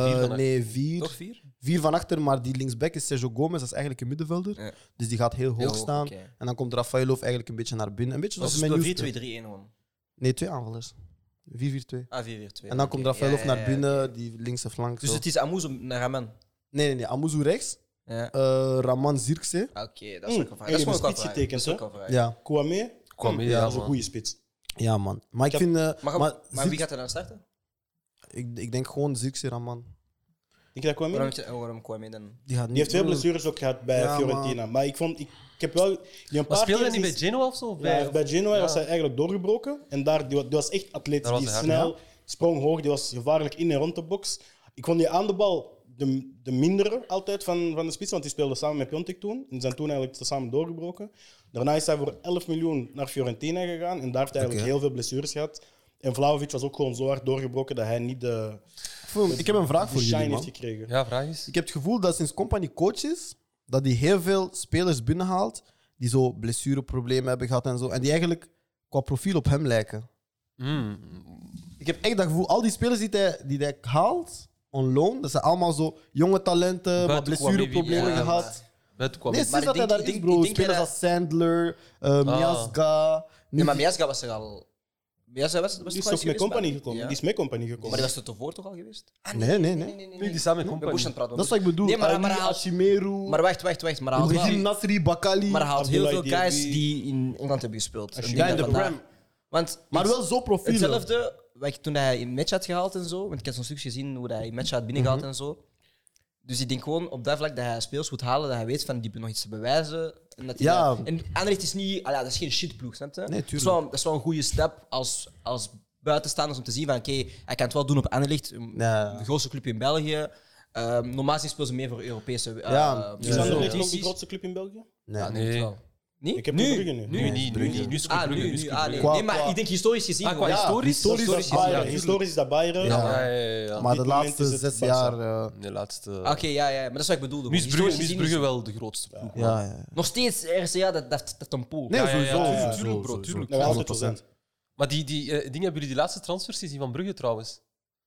Nee, vier van achter. nee, vier. Toch 4? Vier van achter, maar die linksback is Sergio Gomez, dat is eigenlijk een middenvelder. Ja. Dus die gaat heel hoog staan. Oké. En dan komt Rafaelov eigenlijk een beetje naar binnen. Een beetje Dus zoals ze men spelen nu 4, 2, 3, 1 gewoon. Nee, twee aanvallers. 4-4-2. Ah, 4, 4, 2. En dan komt Rafaelov naar binnen, die linkse flank. Dus zo. het is Amoes naar Raman. Nee, nee, nee. Amuzu rechts, Ja. eh, Raman Zirkse. Ah, Oké, dat is Mm. ook al En jullie vraag. Dat is gewoon ook al hebben vraag. spits Dat is getekend, ook al vraag. Ja, Kwame, Kwame, hm, ja, dat is een man. goede spits. ja, man. Maar ik Ik vind... eh, Maar, maar maar Zirkzee- wie gaat er dan starten? ik, ik denk gewoon Zirkse Raman. Denk je dat Kwame? Waarom, niet? heb je- waarom kwam je dan? Die, gaat Die heeft twee Mm. blessures ook gehad bij Ja, Fiorentina. Maar ik vond, ik, ik heb wel die een Maar paar speelde hij keer niet bij sinds- Genoa of zo? Of Ja, bij- bij Genoa Ja. was hij eigenlijk doorgebroken. En daar, die, wa- die was echt atleet. Daar was Die hij hard, snel, sprong hoog, die was gevaarlijk in en rond de box. Ik vond die aan de bal de, de mindere altijd van, van de spits, want die speelde samen met Piontek toen. En die zijn toen eigenlijk samen doorgebroken. Daarna is hij voor 11 miljoen naar Fiorentina gegaan. En daar heeft hij eigenlijk heel veel blessures gehad. En Vlaovic was ook gewoon zo hard doorgebroken dat hij niet de, Ik voel- Ik heb een vraag de Ah, voor shine jullie, heeft man. gekregen. Ja, vraag is. Ik heb het gevoel dat sinds Company coach is, dat hij heel veel spelers binnenhaalt die zo blessureproblemen hebben gehad en zo. En die eigenlijk qua profiel op hem lijken. Hmm, Ik heb echt dat gevoel, al die spelers die hij, die hij haalt, on loan, dat zijn allemaal zo jonge talenten, maar Buiten blessureproblemen Kwame, wie- ja, gehad. Met kwam. Nee, sinds Maar dat ik hij denk- daar ik is, denk- bro. ik denk spelers dat- als Sandler, eh Ah. Miazga. nu- Nee, maar Miasga was er al. Miasga was, Die was is toch toch al eens met geweest, Company maar- gekomen? dus Ja. Die is met Company gekomen. Maar die was er tevoren toch al geweest? Ah, Nee, nee, nee. nee. Nu die samen komt. Bij Bush aan het praten. Dat is wat ik bedoel. Ah, Nee, maar- Ali, maar hij haalt- Ashimeru, Maar wacht, wacht, wacht. Maar hij haalt, Ibrahim wel, Nasri, Bakali. maar hij haalt heel veel Abdullah guys Diaby. die in Engeland hebben gespeeld. Ik denk Ja, in dat de vandaag- Prem. Want Maar iets- wel zo profiel. Hetzelfde wat ik- toen hij in match had gehaald en zo. Want ik heb zo'n stukje gezien hoe hij in match had binnengehaald Mhm. en zo. Dus ik denk gewoon op dat vlak dat hij speels moet halen. Dat hij weet van die hebben nog iets te bewijzen. En, dat hij Ja. dat- en Anderlecht is niet, ah ja, dat is geen shitploeg, snap je? tuurlijk. Dat is wel, dat is wel een goede stap als, als buitenstaanders om te zien van oké, hij kan het wel doen op Anderlecht. um, een- Ja. De grootste club in België. Ehm, normaal gezien speelt ze meer voor Europese Ja, Is eh, Ja. Anderlecht nog competities. de grootste club in België? Nee. Nee. Ah, Nee. Niet? Ik heb Nu, Club nu, Brugge nu, nu. nu, Nee, niet, nu, Brugge. niet. Nu is het Ah, Club nu, Brugge, nu. nu. Ah, nee. Qua- nee, maar qua- ik denk historisch gezien... Ah, qua ja. historisch? historisch Historisch is is het Bayern. Bayern. Historisch is dat Bayern. Ja, ja, ja. ja. Maar de dit moment laatste is het zes Barca. jaar. eh, De laatste... Oké, Ah, ja, ja, maar dat is wat ik bedoelde. Nu is gewoon. Brugge, nu Historisch is gezien Brugge wel de grootste ploeg. ja, ja. Nog steeds RCA, dat, dat, dat een pool. Nee, Ja, ja, ja, sowieso. tuurlijk, sowieso, tuurlijk, bro, sowieso. tuurlijk. Dat we altijd 100%. al zijn. Maar die, die eh, dingen hebben jullie die laatste transfers gezien van Brugge trouwens?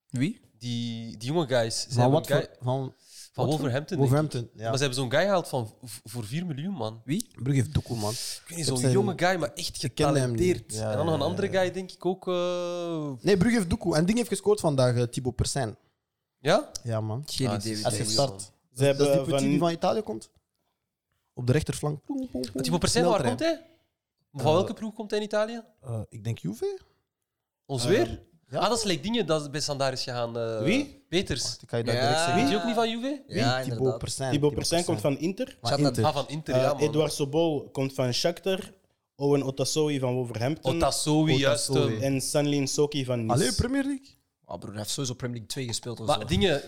Wie? Die, die jonge guys. Ze Van hebben wat een guy- voor- van van wat voor- Wolverhampton. denk ik. Wolverhampton. Ja. Maar ze hebben zo'n guy gehaald van, v- voor 4 miljoen, man. Wie? Brugge heeft doekoe, man. Ik weet niet, Ik zo'n zei- jonge guy, maar echt ken hem niet. getalenteerd. Ja, en dan nog een ja, ja, andere guy, denk ik ook. eh, Nee, Brugge heeft doekoe. En Ding heeft gescoord vandaag, eh, Thibaut Persijn. ja? Ja, man. Geen Ah, idee het wie is- Hij dat is Thibaut, is. gestart. Ze Dat is die hebben petit die van... van Italië komt. Op de rechterflank. Poem, poem, poem. Maar Timo Persena, waar Sneltrein. komt hij? Van Eh, welke ploeg komt hij in Italië? Eh, ik denk Juve. Ons eh, weer? ja. Ah, dat is like dingen dat bij Standaard is gegaan. eh, Wie? Peters. Ik kan je dat Ja. direct zeggen. Weet je ook niet van Juve? Wie? Ja, Thibaut inderdaad. Persijn. Thibaut Persijn komt van Inter. Maar Zat dat- Inter. Ah, van Inter, ja, Eh man. Edouard Sobol komt van Shakhtar. Owen Otasowi van Wolverhampton. Otasowi, juist. Otasowi. eh. En Sanlin Soki van Nice. Allee, Premier League. Oh, broer, hij heeft sowieso Premier League 2 gespeeld. Of Maar zo. dingen...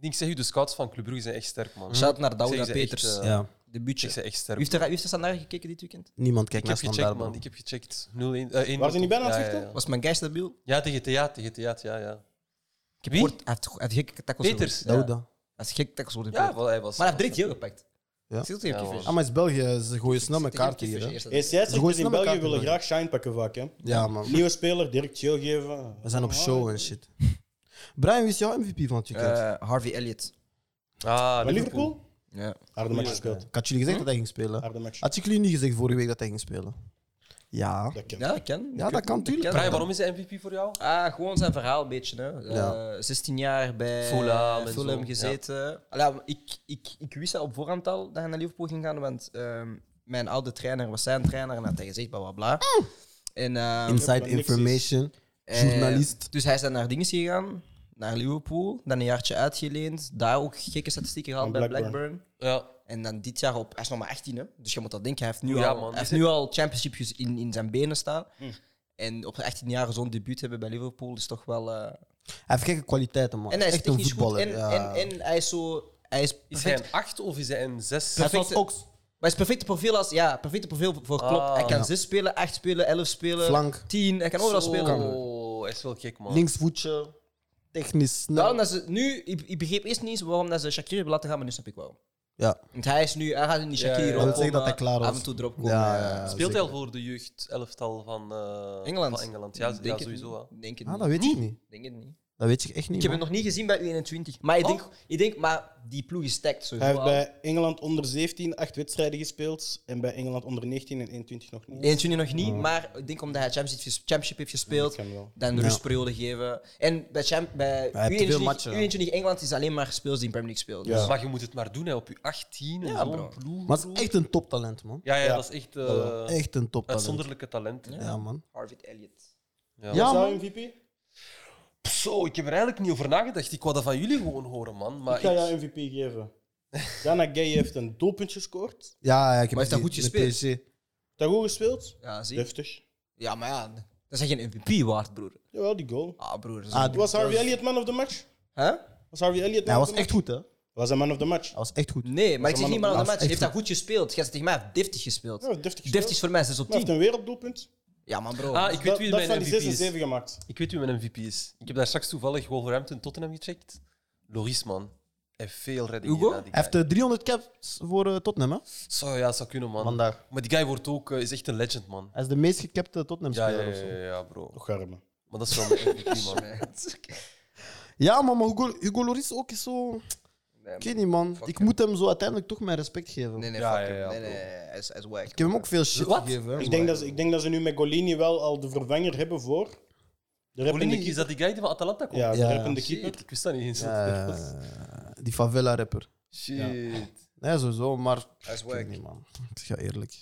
Ik zeg u, de scouts van Club Brugge zijn echt sterk, man. Shout naar Ik Douda zeg, ze echt, Peters. eh, De Ja. Ik Debuutje. zeg echt Wie sterk. heeft er, wie heeft er standaard gekeken dit weekend? Niemand kijkt Ik heb naar gecheckt, standaard, man. man. Ik heb gecheckt. 0-1. eh, 1-0. Waren ze niet bijna aan het Ja, ja, vechten? ja. Was mijn guy stabiel? Ja, tegen Theaat, tegen Theaat, ja, ja. Ik heb Wie? gehoord, hij heeft, hij heeft gekke tackles Peters. gehoord. Ja, Douda. Hij heeft gekke tackles gehoord. Ja, wel, hij was... Maar hij heeft drie keer gepakt. Ja. Zit tegen Ja, Kievers. man. Ah, maar het is België. Ze gooien snel met kaarten hier. hè. Hey, Ze gooien scheidsrechters snel in met België kaarten willen mee. graag shine pakken vaak. Hè. Ja, man. Nieuwe speler, Ah. direct chill geven. We zijn op show en shit. Brian, wie is jouw MVP van het weekend? Eh, Harvey Elliott. Ah, Maar Liverpool? Ja. Harde match gespeeld. Ik had jullie gezegd dat hij ging spelen. Harde match. Had ik jullie niet gezegd vorige week dat hij ging spelen? Ja. Dat kan. ja, ik ken. Ja, dat kan tuurlijk. Brian, waarom is hij MVP voor jou? Ah, gewoon zijn verhaal een beetje. Hè. Eh, Ja. 16 jaar bij eh, Fulham en Fulham zo, gezeten. Allee, maar ik, ik, ik wist dat op voorhand al dat hij naar Liverpool ging gaan, want ehm, mijn oude trainer was zijn trainer en had hij gezegd bla bla bla. En, ehm, Inside niks is. information. eh, Journalist. dus hij is dan naar dingen gegaan, naar Liverpool, dan een jaartje uitgeleend, daar ook gekke statistieken gehaald Van bij Blackburn. Blackburn. Ja. En dan dit jaar op, hij is nog maar 18, hè? dus je moet dat denken. Hij heeft nu Ja, al, man. Mm. hij heeft nu al championship ges- in, in zijn benen staan. En op zijn 18 jaar zo'n debuut hebben bij Liverpool is toch wel. eh, Hij heeft gekke kwaliteiten, man. En hij is Echt een technisch goed. voetballer. En, ja. en, en hij is zo. Hij is Is perfect. hij een 8 of is hij een 6? Hij valt perfecte- ook Maar hij is perfecte profiel als. Ja, perfecte profiel voor Klopp. Ah. hij kan Ja. 6 spelen, 8 spelen, 11 spelen, flank, 10. Hij kan overal spelen. Oh, hij is wel gek, man. linksvoetje, technisch Daarom snel. dat ze nu, ik, ik begreep eerst niet eens waarom dat ze Shakir hebben laten gaan, maar nu snap ik wel. Ja. Want hij is nu, hij gaat in die Ja, ja, Shakir ja. ja, Dat wil zeggen dat hij klaar Af was. en toe erop komen. Ja, ja. ja, ja, Speelt hij zeker. al voor de jeugd-elftal van, eh, Engeland. van Engeland? Ja, Denk ja het sowieso. niet. hè. Denk het Ah, niet. dat weet ik niet. Denk het niet. Dat weet ik echt niet. Ik heb hem man. nog niet gezien bij U21. Maar ik Oh. denk, ik denk maar die ploeg is stacked Hij sowieso. heeft al. bij Engeland onder 17 acht wedstrijden gespeeld. En bij Engeland onder 19 en 21 nog niet. Eentje nu nog niet, maar ik denk omdat hij Championship, heeft ges- championship heeft gespeeld, Dat kan wel. dan een Ja. rustperiode geven. En bij, champ, bij Hij heeft veel matchen, U21, U21 Engeland is alleen maar speels die in Premier League speelt. Dus- Maar je moet het maar doen hè, op je 18 en Ja, bro. zo'n ploeg. Maar het is echt een toptalent, man. Ja, ja, Ja. dat is echt eh, Echt een toptalent. uitzonderlijke talent. hè. Ja, man. Harvey Elliott. Ja. Ja, Zou man. MVP? Zo, ik heb er eigenlijk niet over nagedacht. Ik wou dat van jullie gewoon horen, man. Maar Ik ga ik- jou MVP geven. <laughs> Jana Gay heeft een doelpuntje gescoord. Ja, ja, ik heb Maar heeft hij die- goed met gespeeld? PSG. Dat goed gespeeld. Ja, zie. je? Deftig. Ja, maar ja, dat is echt geen MVP waard, broer. Jawel, die goal. Ah, broer. dat is- Ah, die- Was Harvey Elliott man of the match? Hè? Was Harvey Elliott Nee, Hij man of was the echt Oh. goed, match? hè? Hij Was hij man of the match? was echt goed. Nee, maar ik een zeg man niet op maar aan de blaas. match. Hij heeft Echt dat goed gespeeld. Jij zegt tegen mij, hij heeft deftig gespeeld. Ja, deftig gespeeld. Deftig is voor mij 6 Maar op Hij heeft 10. een werelddoelpunt. Ja, man, bro. Ah, ik weet Dat, wie dat mijn van die MVP 6 en is. 7 gemaakt. Ik weet wie mijn MVP is. Ik heb daar straks toevallig Wolverhampton Tottenham gecheckt. Loris, man. Hij heeft veel reddingen Hugo? gedaan, die Hij guy. heeft eh, 300 caps voor eh, Tottenham, hè? Zou, ja, zou kunnen, man. Vandaag. Maar die guy wordt ook, eh, is echt een legend, man. Hij is de meest gecapte Ja, ja, Tottenham-speler of ja, zo. ja, ja, bro. Och, arme. Maar dat is wel mijn MVP, man. <laughs> Ja, man, maar Hugo, Hugo Loris ook is zo... Ik weet niet, man. Ik moet hem zo uiteindelijk toch mijn respect geven. <laughs> Nee, nee, Ja, fuck ja, hem. ja, Nee, bro. nee, hij is, hij is wack. Ik heb hem ook veel shit Wat? gegeven. hè, Ik maar- denk, dat ze, ik denk dat ze nu met Golini wel al de vervanger hebben voor. De rappende Polini, is keeper. dat die guy die van Atalanta komt? Ja, de Ja, ja. rappende keeper. Ah, Shit, ik wist dat niet eens. Ja, ja, ja, ja. die favela-rapper. Shit. Nee, sowieso, maar... Hij is Ik weet wack. niet, man. <laughs> Ik ga eerlijk.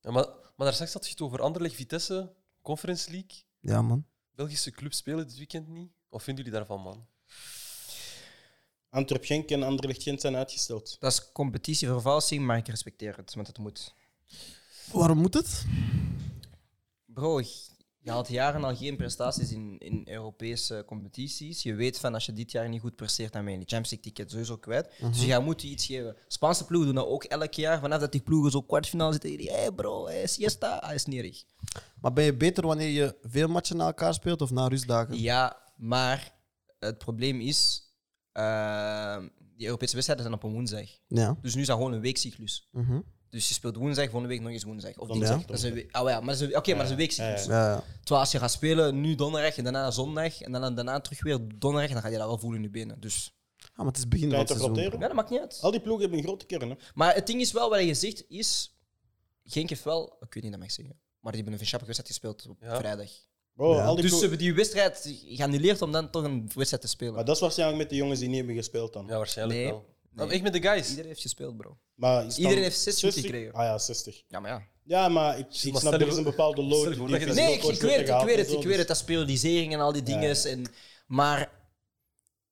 Ja, maar, maar daar straks had je het over Anderlecht, Vitesse, Conference League. Ja, man. Belgische clubs spelen dit weekend niet. Wat vinden jullie daarvan, man? Antwerp Genk en Anderlecht Gent zijn uitgesteld. Dat is competitievervalsing, maar ik respecteer het, want het moet. Waarom moet het? Bro, Je haalt jaren al geen prestaties in, in Europese competities. Je weet van als je dit jaar niet goed presteert, dan ben je die Champions League ticket sowieso kwijt. Dus je moet je iets geven. Spaanse ploegen doen dat ook elk jaar. Vanaf dat die ploegen zo kwartfinale zitten, hé hey bro, hey, siesta, hij is nierig. Maar ben je beter wanneer je veel matchen na elkaar speelt of na rustdagen? Ja, maar het probleem is, eh, die Europese wedstrijden zijn op een woensdag. Ja. Dus nu is dat gewoon een weekcyclus. Mhm. Dus je speelt woensdag, volgende week nog eens woensdag. Of Dan dinsdag. ja. Dat is een we- Ah, ja, maar dat is een- Oké, maar dat is een weekcyclus. Dus Ja, ja. ja. Terwijl als je gaat spelen, nu donderdag en daarna zondag en dan daarna terug weer donderdag, dan ga je dat wel voelen in je benen. Dus Ah, maar het is het begin van Tijd het te seizoen. roteren. ja, dat maakt niet uit. Al die ploegen hebben een grote kern. Hè. Maar het ding is wel, wat je zegt, is... Genk heeft wel... Ik weet niet, dat mag ik zeggen. Maar die hebben een schappige wedstrijd gespeeld op Ja. vrijdag. Bro, Ja. al die Dus ze ploegen- hebben die wedstrijd geannuleerd om dan toch een wedstrijd te spelen. Maar dat is waarschijnlijk met de jongens die niet hebben gespeeld dan. Ja, waarschijnlijk Nee. wel. Maar Ik met de guys. Iedereen heeft gespeeld, bro. Maar is dan Iedereen heeft 60 gekregen. Ah ja, 60. Ja, maar ja. Ja, maar ik, ik Maar snap, stel er je- is een bepaalde stel lood je dus voor die dat je Nee, dat ik, ik weet het, ik weet het, ik weet het. Dat periodisering en al die dus- Ja, dingen. En, maar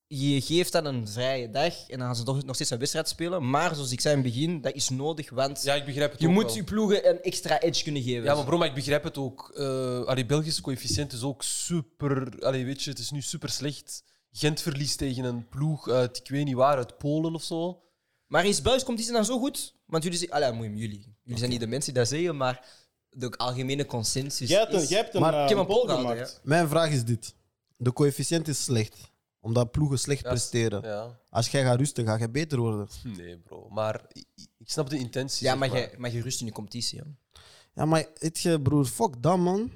je geeft dan een vrije dag en dan gaan ze toch nog steeds een wedstrijd spelen. Maar zoals ik zei in het begin, dat is nodig, want Ja, ik begrijp het je ook moet wel. je ploegen een extra edge kunnen geven. Ja, maar bro, maar ik begrijp het ook. Eh allee, Belgische coëfficiënt is ook super. Allee, weet je, het is nu super slecht. Gent verliest tegen een ploeg uit, ik weet niet waar, uit Polen of zo. Maar in België komt die dan zo goed? Want jullie zeggen, allee, moet je- jullie, jullie zijn niet de mensen die dat zeggen, maar de algemene consensus Jij hebt een, is... jij hebt een, Maar eh, ik heb een poll poll gehouden, gemaakt. Mijn vraag is dit. De coëfficiënt is slecht. Omdat ploegen slecht presteren. Ja. Als jij gaat rusten, ga je beter worden. Nee, bro. Maar i- i- ik snap de intentie. Ja, zeg maar je, maar je rust in de competitie. hè. Ja, maar weet je, broer, fuck dat, man.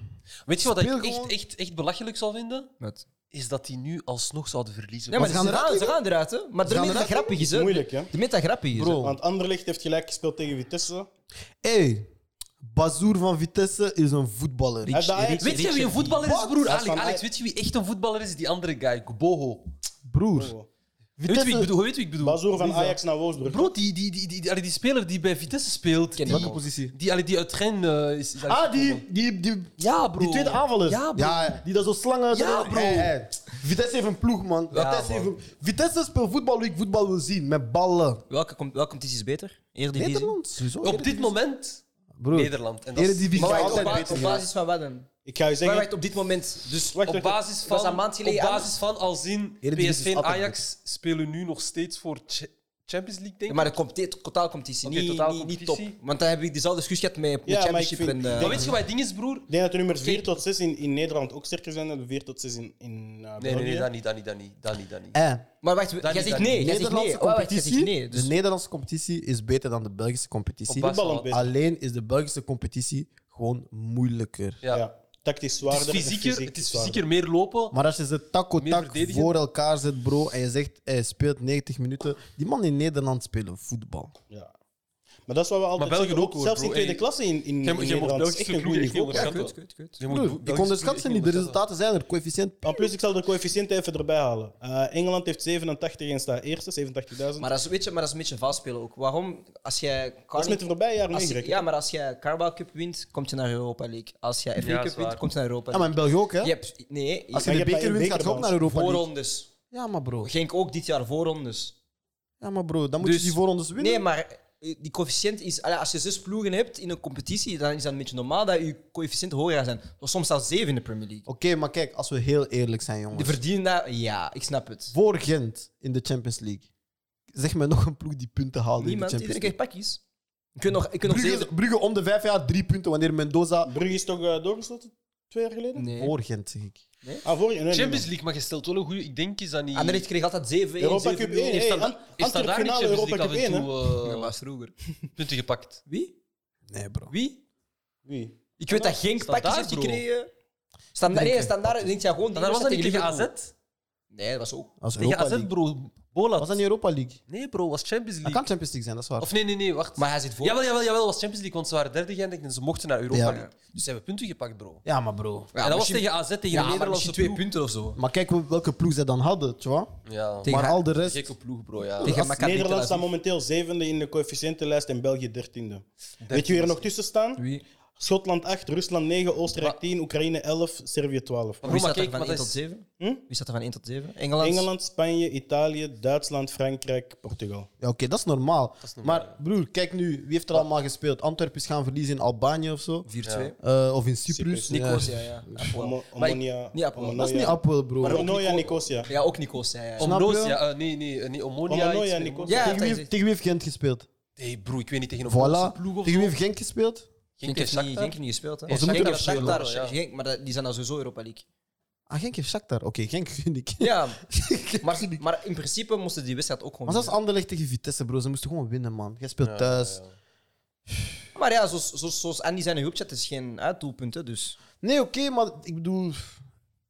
Weet je wat ik Speel echt, gewoon. echt, echt belachelijk zou vinden? Wat? Is dat die nu alsnog zouden verliezen. Ja, maar Want- ze gaan gaan eruit, eruit, ze gaan eruit, hè. Maar daarmee dat eruit, hè? grappig is, hè. Moeilijk, hè? Daarmee dat grappig is, hè. Bro. Want Anderlecht heeft gelijk gespeeld tegen Vitesse. hey, Bazoer van Vitesse is een voetballer. Hij heeft de Ajax- Weet je wie een voetballer is, broer? Dat is Alex, van- Alex, weet je wie echt een voetballer is? Die andere guy, Boho. Broer, Oh. Weet je wie ik Vitesse, bedoel? Weet je wie ik bedoel? Bazoer van Ajax naar Wolfsburg. Bro, die, die, die, die, die, allee, die speler die bij Vitesse speelt. Ken Die, ik. welke positie? die, allee, die uit Gen eh, is, is Ah, die, die, die, Ja, bro. die tweede aanvaller. Ja, bro. Ja, die dat zo slangen. Ja, bro. Hey, hey. Vitesse heeft een ploeg, man. Ja, Vitesse, man. Heeft een- Vitesse speelt voetbal hoe ik voetbal wil zien. Met ballen. Welke, com- welke competitie is beter? Eredivisie? Nederland, sowieso. Op dit moment Broer, Nederland. En dat is- Eredivisie Maar is wacht, op, altijd ba- beter. op basis van wat dan? Ik ga je Maar zeggen. wacht, op dit moment. Dus wacht, op wacht, basis was van, een maand op geleden basis anders. van al zien Eredivisie PSV is en altijd Ajax spelen nu nog steeds voor Ch- Champions League, denk Ja, ik. maar de compte- totaalcompetitie, Oké, niet, niet, totaalcompetitie. niet top. Want dan heb ik dezelfde discussie gehad met Ja, de maar Championship ik vind- en... eh, Maar weet je wat het ding is, broer? Ik denk dat de nummers 4 tot 6 in, in Nederland ook sterker zijn dan de 4 tot 6 in, in eh, Nee, nee, nee, België. dat niet, dat niet, dat niet. Dat niet, dat niet. Eh, maar wacht, niet, jij zegt dat nee. niet. Jij zegt nee. Nederlandse Oh, wacht, jij competitie, zegt de nee. Dus Nederlandse competitie is beter dan de Belgische Op competitie. basis voetballend van- beter. Alleen is Ah, de Belgische competitie gewoon moeilijker. Ja. Ja. Tactisch Het zwaarder. is en fysieker, fysiek het is zwaarder. fysieker meer lopen. Maar als je ze tak voor Meer tak verdedigen? voor elkaar zet, bro, en je zegt hij speelt 90 minuten. Die man in Nederland spelen voetbal. Ja. Maar dat is wat we altijd België zeggen, ook, hoor, zelfs bro. in tweede Hey, klasse in, in, jij in moet- jij Nederland moet is echt Belgische een ploeg goede echt niet niveau. onderschatten. Ja, kut, kut, kut. Je moet Broer, Belgische ik onderschat ze ploeg niet. echt De resultaten zijn er. Coëfficiënt. En plus, ik zal de coëfficiënten even erbij halen. Eh, Engeland heeft 87 en staat eerste, 87.000. Maar dat is, weet je, maar dat is een beetje vastspelen ook. Waarom? Als jij... Dat is met de voorbije jaren als, meegerekend. ja, maar als jij Carabao Cup wint, komt je naar Europa League. Als jij FA Ja, Cup is waar. wint, komt je naar Europa Ja, maar League. in België ook, hè? Je hebt, nee, Als je- je Maar de je hebt beker bij wint, een gaat je ook bekerbalans. naar Europa League. voorrondes. Ja, maar bro. Ging ook dit jaar voorrondes. Ja, maar bro. Dan moet je Dus- die voorrondes winnen. Nee, maar eh, die coëfficiënt is. allee, Als je zes ploegen hebt in een competitie, dan is dat een beetje normaal dat je coëfficiënten hoger zijn. Of soms zelfs zeven in de Premier League. Oké, maar kijk, als we heel eerlijk zijn, Die jongens. verdienen dat. Ja, ik snap het. Voor Gent in de Champions League. Zeg me nog een ploeg die punten haalde in de Niemand, Champions iedereen League. krijgt pakjes. Ik kunt nog, ik kunt nog Brugge, zeven. Brugge om de vijf jaar drie punten wanneer Mendoza. Brugge is toch eh, doorgesloten twee jaar geleden? Nee. Voor Gent, zeg ik. Ah, vorig jaar. nee, nee, Champions nee. League, maar je stelt wel een goede. Ik denk is dat niet. Anderlecht kreeg altijd 7 1 Europa 7 Cup 1. Heeft Hey, dat, Ant- heeft dat Antwerp daar niet finale Champions Europa League Cup af 1. en hè? toe Dat eh, was vroeger. punten gepakt? Wie? Nee, bro. Wie? Wie? Ik weet dat Genk Standaard, pakjes heeft bro. gekregen. Standaard, nee, standaard denkt jij gewoon... die Dan was dat niet wedstrijd tegen AZ? Liverpool. Nee, dat was ook... Als Tegen Europa AZ, League. bro. Bolat. Was dat niet Europa League? Nee, bro, was Champions Dat League. kan Champions League zijn, dat is waar. Of nee, nee, nee, wacht. Maar hij zit voor. Jawel, jawel, jawel, was Champions League, want ze waren derde geëindigd en ze mochten naar Europa Ja. League. Dus ze hebben punten gepakt, bro. ja, maar bro. en dat was misschien- tegen AZ, tegen Ja, de maar Nederlandse misschien twee ploeg. punten of zo. Maar kijk wel- welke ploeg ze dan hadden, tja. Ja, Tegen- Maar al de rest. gekke ploeg, bro, ja. Tegen Maccabi Tel Nederland Aviv. staat momenteel zevende in de coëfficiëntenlijst en België dertiende. Weet je wie er nog tussen staan? Wie? Schotland 8, Rusland 9, Oostenrijk 10, Oekraïne 11, Servië 12. Maar Roma, Wie staat er kijk, van maar 1 dat tot is, 7? Hm? Wie staat er van 1 tot 7? Engeland. Engeland, Spanje, Italië, Duitsland, Frankrijk, Portugal. Ja, Oké, dat is normaal. is normaal, Maar broer, kijk nu, wie heeft er allemaal gespeeld? Antwerpen is gaan verliezen in Albanië of zo. 4-2. Ja. Eh, of in Cyprus. Cyprus. Nicosia, ja. Apollo. Omo- Maar ik- Omonia. niet Apollo. Dat is niet Apple, broer. Maar ook Omonia, Nico- Nicosia. Ja, ook Nicosia, ja. ja. Snap je? Omnosia, eh, nee, nee, eh, niet Omonia. Omonia, iets met Nicosia. Omonia. Ja, tegen, wie, heeft- tegen wie heeft Gent gespeeld? Nee, broer, ik weet niet tegen een Voilà. Poolse ploeg of Tegen zo. wie heeft Gent gespeeld? Genk Genk en heeft niet, Genk Shakhtar. heeft niet gespeeld, hè? Ja, ze moeten Genk dat heeft spelen, Shakhtar, ja. Genk- maar dat- die zijn dan sowieso Europa League. <laughs> Ah, Genk heeft Shakhtar. Oké, Genk <laughs> vind ik. Ja, maar, maar in principe moesten die wedstrijd ook gewoon Maar zelfs winnen. Anderlecht tegen Vitesse, bro. Ze moesten gewoon winnen, man. Jij speelt Ja, thuis. ja, ja. Maar ja, zoals, zoals, zoals Andy zijn in groepchat, het is geen hè, doelpunt, hè, dus... Nee, oké, maar ik bedoel...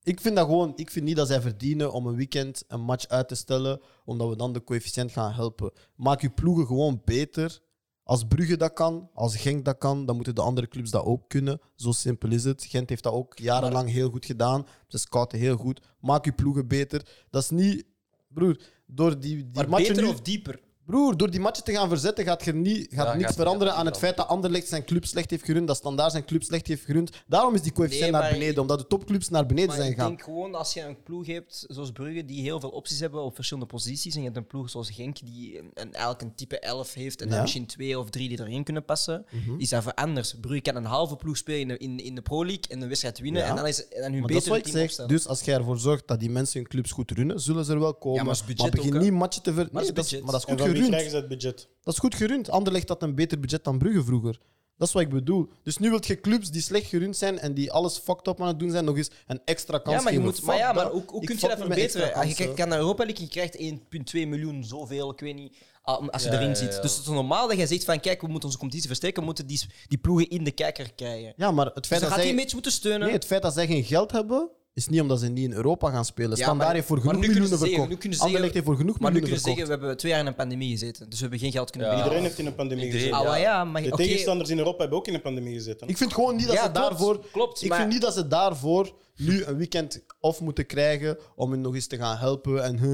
Ik vind dat gewoon... Ik vind niet dat zij verdienen om een weekend een match uit te stellen, omdat we dan de coëfficiënt gaan helpen. Maak je ploegen gewoon beter. Als Brugge dat kan, als Genk dat kan, dan moeten de andere clubs dat ook kunnen. Zo simpel is het. Gent heeft dat ook jarenlang heel goed gedaan. Ze scouten heel goed. Maak je ploegen beter. Dat is niet... Broer, door die, die Maar matchen beter nu- of dieper? Broer, door die matchen te gaan verzetten gaat er niet, gaat Ja, niks gaat- veranderen gaat aan het niet feit dat Anderlecht zijn club slecht heeft gerund, dat Standaard zijn club slecht heeft gerund. Daarom is die coëfficiënt Nee, naar maar beneden, ik- omdat de topclubs naar beneden Maar zijn ik gegaan. denk gewoon, als je een ploeg hebt zoals Brugge, die heel veel opties hebben op verschillende posities, en je hebt een ploeg zoals Genk, die een, een, elk een type 11 heeft, en dan Ja. Mhm. misschien twee of drie die erin kunnen passen, is dat voor anders. Brugge kan een halve ploeg spelen in de, in, in de Pro League en een wedstrijd winnen, Ja. en dan is en dan hun Maar dat is betere wat ik team zeg. opstellen. Dus als jij ervoor zorgt dat die mensen hun clubs goed runnen, zullen ze er wel komen. maar het is budget begin ook, hè? niet matchen te ver. Maar het Nee, is dat is- budget. maar dat is En goed van wie gerund. krijgen ze het budget? Dat is goed gerund. Anderlecht had een beter budget dan Brugge vroeger. Dat is wat ik bedoel. Dus nu wil je clubs die slecht gerund zijn en die alles fucked up aan het doen zijn, nog eens een extra kans Ja, maar, je geven. moet, maar, Fuck ja, maar dat. hoe, hoe Ik kun je fuck dat niet met extra verbeteren? Ah, Je kansen. kijkt naar Europa League, je krijgt 1,2 miljoen, zoveel, ik weet niet, ah, als je Ja, erin ja, zit. ja. Dus het is normaal dat je zegt van, kijk, we moeten onze competitie versterken, we moeten die, die ploegen in de kijker krijgen. Ja, maar het Dus feit dan dat gaat die zij... een beetje moeten steunen. Nee, het feit dat zij geen geld hebben, is niet omdat ze niet in Europa gaan spelen. Ja, Standaard maar- heeft voor maar nu genoeg kunnen miljoenen ze zeggen- nu verkocht. kunnen ze Anderlecht zeggen- heeft voor genoeg maar nu miljoenen kunnen ze verkocht. zeggen, we hebben twee jaar in een pandemie gezeten, dus we hebben geen geld kunnen Ja. Iedereen bieden. heeft in een pandemie Iedereen. gezeten. Ah, wel, ja, maar De oké. tegenstanders in Europa hebben ook in een pandemie gezeten. hè? Ik vind gewoon niet dat Ja, ze klopt, daarvoor... klopt, ik maar- vind niet dat ze daarvoor nu een weekend off moeten krijgen om hen nog eens te gaan helpen. En <laughs>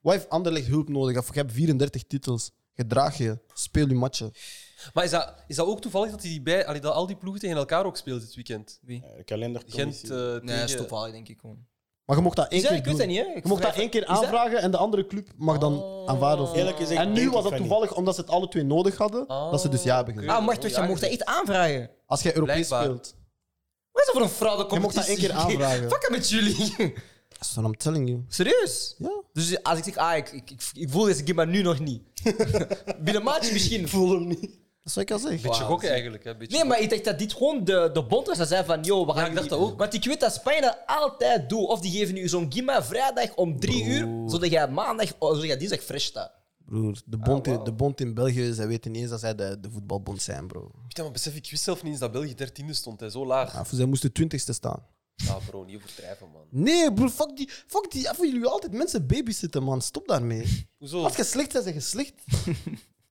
Wat heeft Anderlecht hulp nodig? Of je hebt 34 titels. Gedraag je. Speel je matchen. Maar is dat, is dat ook toevallig dat, die bij, allee, dat al die ploegen tegen elkaar ook speelden dit weekend? Ja, de kalender. Gent eh Nee, tegen... stop wel, denk ik gewoon. Maar je mocht dat één Is dat- keer ik weet dat Oh. doen. niet, hè? Je mocht dat één keer aanvragen en de andere club mag dan aanvaarden of niet. Eerlijk gezegd, En nu denk was ik dat van toevallig omdat ze het alle twee nodig hadden, dat ze dus ja hebben gezegd. Ah, wacht, wacht, je mocht dat echt aanvragen. Als jij Europees Blijkbaar. speelt. Wat is dat voor een fraude Je mocht dat één keer aanvragen. <laughs> Fuck met jullie. <laughs> That's what I'm telling you. Serieus? Ja. Dus als ik zeg, ah, ik, ik, ik, ik voel deze game maar nu nog niet. <laughs> Binnen een maandje misschien. voel hem niet. Dat is wat ik al zeg. Beetje gokken eigenlijk. Hè, beetje Nee, maar ik dacht dat dit gewoon de, de bond was. Dat zei van, yo, we gaan Ja, ik dacht jullie- dat ook. Want ik weet dat Spanje dat altijd doet. Of die geven nu zo'n gimma vrijdag om drie uur, zodat jij maandag, oh, zodat jij dinsdag fresh staat. Broer, de bond, in, de bond in België, zij weten niet eens dat zij de, de voetbalbond zijn, bro. Ik, dacht, maar besef, ik wist zelf niet eens dat België dertiende stond. Hè, zo laag. Ja, voor zij moesten twintigste staan. Ja, bro, niet overdrijven, man. Nee, broer, fuck die. Fuck die. ja, Voor jullie willen altijd mensen babysitten, man. Stop daarmee. Hoezo? Als je slecht bent, zeg je slecht.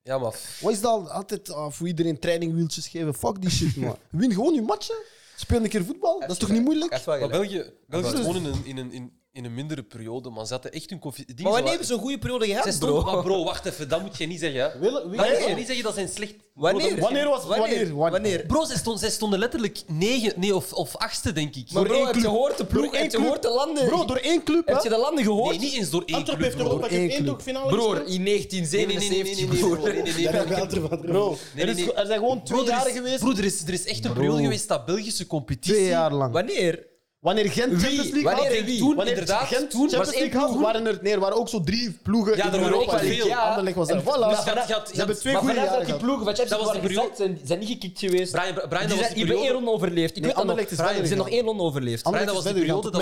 Ja, maar... f- Wat is dat altijd ah, voor iedereen trainingwieltjes geven? Fuck die shit, <laughs> man. Win gewoon je matchen. Speel een keer voetbal. Dat is toch niet moeilijk? Echt wel Maar gelijk. België, België zit gewoon in een, in, een, in, in een mindere periode, man. Ze hadden echt hun koffie... dingen Maar zo- wanneer hebben ze een goede periode Zij gehad, stond- Maar bro? bro, wacht even. Dat moet je niet zeggen. hè. Willen- Dat willen- moet je niet zeggen dat zijn slecht... Wanneer? Wanneer was- wanneer? Wanneer? Wanneer? Bro, zij stonden, zij stonden letterlijk negen nee, of, of achtste, denk ik. Maar Door bro, één heb je club. gehoord de ploeg? Door één Heb je club. gehoord de landen? Bro, door één club, Heb hè? je de landen nee, gehoord? niet eens door één Antwerpen heeft club, bro. Europa één Cup één club. toch finale Broer, gespeeld? in Nee, nee, nee, nee, nee, nee, 1977, nee, broer. bro. Nee, nee, nee, Ja, bro. <laughs> bij Antwerpen, Antwerpen. Bro, nee, er, is, nee. er zijn gewoon twee Bro, er jaar is- geweest. Bro, er is, er is echt een Bro. periode geweest dat Belgische competitie. twee jaar lang. Wanneer? Wanneer Gent Champions League Wanneer had, en wie? Toen, wanneer inderdaad, Gent toen was Champions één League had, ploeg. waren er, nee, er waren ook zo drie ploegen Ja, er in Europa, waren ook wel League. veel. Ja. Anderlecht was er. Voilà. dus je had- je had- Ze hebben twee Maar goede vanaf dat jaren die gehad. ploegen Dat van Champions was de League periode- waren gezakt, zijn, zijn niet gekikt geweest. Brian, Brian, die dat was de zijn, die hebben één periode. ronde overleefd. Ik Nee, weet dat nog. Anderlecht is verder Ze zijn nog gegaan. één ronde overleefd. Ander- dat Anderlecht is was de verder gegaan, periode tot dat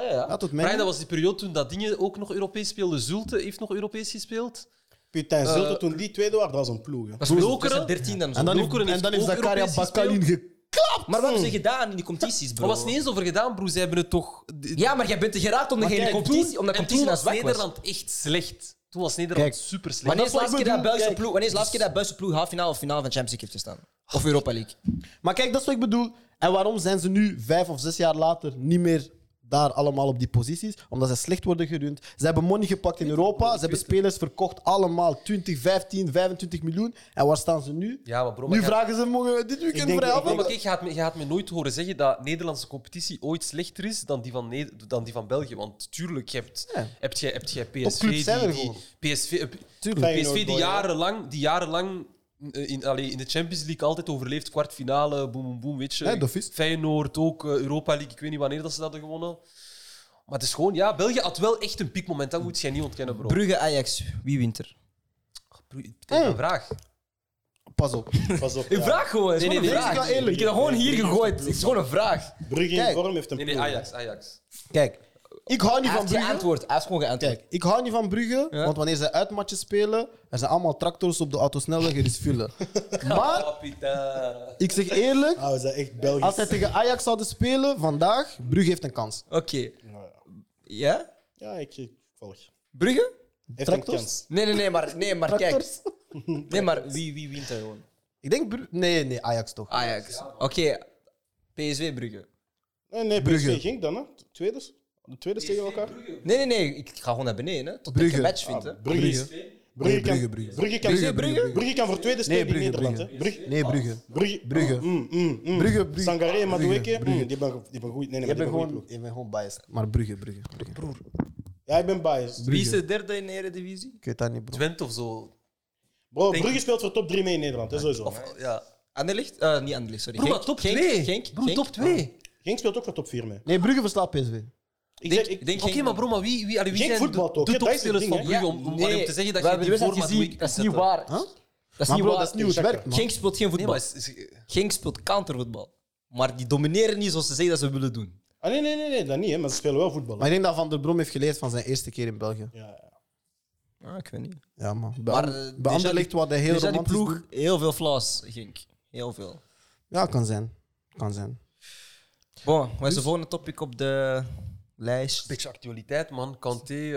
was- Kwartfinale, ja. Ja, ja. tot Brian, mij. dat was die periode toen dat dingen ook nog Europees speelden. Zulte heeft nog Europees gespeeld. Putain, Zulte toen die tweede waren, dat was een ploeg. hè. Dat Lokeren? tussen 13 dan zo. En dan Lokeren heeft heeft, en dan heeft ook Zakaria Europees Bakalin ge... Maar wat hebben ze gedaan in die competities, bro? Er was niet eens over gedaan, broer. Ze hebben het toch. Ja, maar jij bent er geraakt omdat je in de competitie, omdat de en toen competitie naar was zwak was. Nederland echt slecht. Toen was Nederland Kijk, super slecht. Wanneer is de Dat is wat laatste ik keer dat bedoel, Belgische kijk. ploeg- wanneer is de laatste keer dat Belgische ploeg halffinale of finale van Champions League heeft gestaan? Of Europa League? Maar kijk, dat is wat ik bedoel. En waarom zijn ze nu, vijf of zes jaar later, niet meer daar allemaal op die posities, omdat ze slecht worden gerund. Ze hebben money gepakt in Europa, ze hebben spelers verkocht, allemaal 20, 15, 25 miljoen. En waar staan ze nu? Ja, maar bro, maar Nu ga- vragen ze, mogen we dit Ik weekend denk- vrij ik Bro, hebben? maar kijk, je gaat, me, je gaat me nooit horen zeggen dat Nederlandse competitie ooit slechter is dan die van, Ne- dan die van België. Want tuurlijk, je hebt, Ja. hebt, je, hebt je PSV Topclubs die, zijn er die, gewoon. PSV, eh, p- Tuurlijk. PSV die Feyenoord, jarenlang, die jarenlang eh, in, allee, in de Champions League altijd overleefd. Kwartfinale, boem, boem, boem, weet je. Ja, dat is- Feyenoord ook, eh, Europa League. Ik weet niet wanneer dat ze dat hadden gewonnen. Maar het is gewoon, ja, België had wel echt een piekmoment. Dat moet je niet ontkennen, bro. Brugge Ajax, wie wint er? Bru- het is Ah. een vraag. Pas <laughs> op. Pas op. Een ja. vraag gewoon. Het is Nee, gewoon nee, een nee, vraag. ik ben eerlijk. Ik heb dat gewoon hier gegooid. Het is gewoon een vraag. Brugge in Kijk. vorm heeft een Nee, nee, ploeg, hè. Ajax, Ajax. Kijk, ik hou niet Hij van heeft Brugge. geantwoord. Hij heeft gewoon geantwoord. Kijk, ik hou niet van Brugge, Ja. want wanneer ze uitmatjes spelen, er zijn allemaal tractors op de autosnelweg, er is vullen. Maar, Kapitein. ik zeg eerlijk, Ah, we zijn echt Belgisch. als zij tegen Ajax zouden spelen vandaag, Brugge heeft een kans. Oké. Nou ja. Ja? Ja, ik, ik volg. Brugge? Heeft een Tractors? kans. Nee, nee, nee, maar, nee, maar kijk. Tractors? <laughs> Nee, maar wie, wie wint er gewoon? Ik denk Brugge... Nee, nee, Ajax toch. Ajax. Oké, PSV Brugge. Nee, nee, Brugge. PSV ging dan, hè? Tweeders? De tweede tegen elkaar? Nee, nee, nee, ik ga gewoon naar beneden. Hè, tot Brugge. ik een match vind. Hè. Ah, Brugge. is- Brugge, kan, Brugge, Brugge, Brugge. kan, Brugge, Brugge? Brugge kan voor tweede Nee, spelen in Brugge, Nederland. Brugge. hè. Brugge. Nee, Brugge. Brugge. Brugge. Mm, mm, mm. Brugge, Brugge. Sangaré, Madueke. Brugge, mm, Brugge. die ben, die ben goed. Nee, nee, Je maar die bent ben gewoon, goed. je bent gewoon biased. Maar Brugge, Brugge. Brugge. Broer. Ja, ik ben biased. Wie is de derde in de Eredivisie? Ik weet dat niet, bro. Twente of zo. Bro, Denk- Brugge speelt voor top 3 mee in Nederland, hè, sowieso. Of, ja. Anderlicht? Eh niet Anderlicht, sorry. Broer, maar Genk, top Genk, 2. Genk, Broer, Genk. Ah. top 2. Genk speelt ook voor top 4 mee. Nee, Brugge verslaat PSV. Ik Denk- zeg, ik, denk Oké, Genk- maar bro, maar wie, wie, allee, wie Genk zijn de, voetbal toch, de hè? Dat is het topspelers ding, van hè? Brugge? Om, om, nee, allee, om te zeggen dat we je hebben die de voormaat wedstrijd gezien, week Dat is kan niet zetten. waar. Huh? Dat is Maar niet bro, waar. dat is niet hoe het werkt, man. Genk speelt geen Nee, voetbal. maar is- is- Genk speelt countervoetbal. Maar die domineren niet zoals ze zeggen dat ze willen doen. Ah, nee, nee, nee, nee, dat niet, hè, maar ze spelen wel voetbal. hè. Maar ik denk dat Van der Brom heeft geleerd van zijn eerste keer in België. Ja, ja. Ah, ik weet niet. Ja, man. Bij, Maar, maar, eh, bij dus dat Anderlecht die- wat hij heel Dus dat die romantisch ploeg doet. heel veel flaws, Genk. Heel veel. Ja, kan zijn. Kan zijn. Bon, wat is de volgende topic op de lijst? Beetje actualiteit, man. Kanté, eh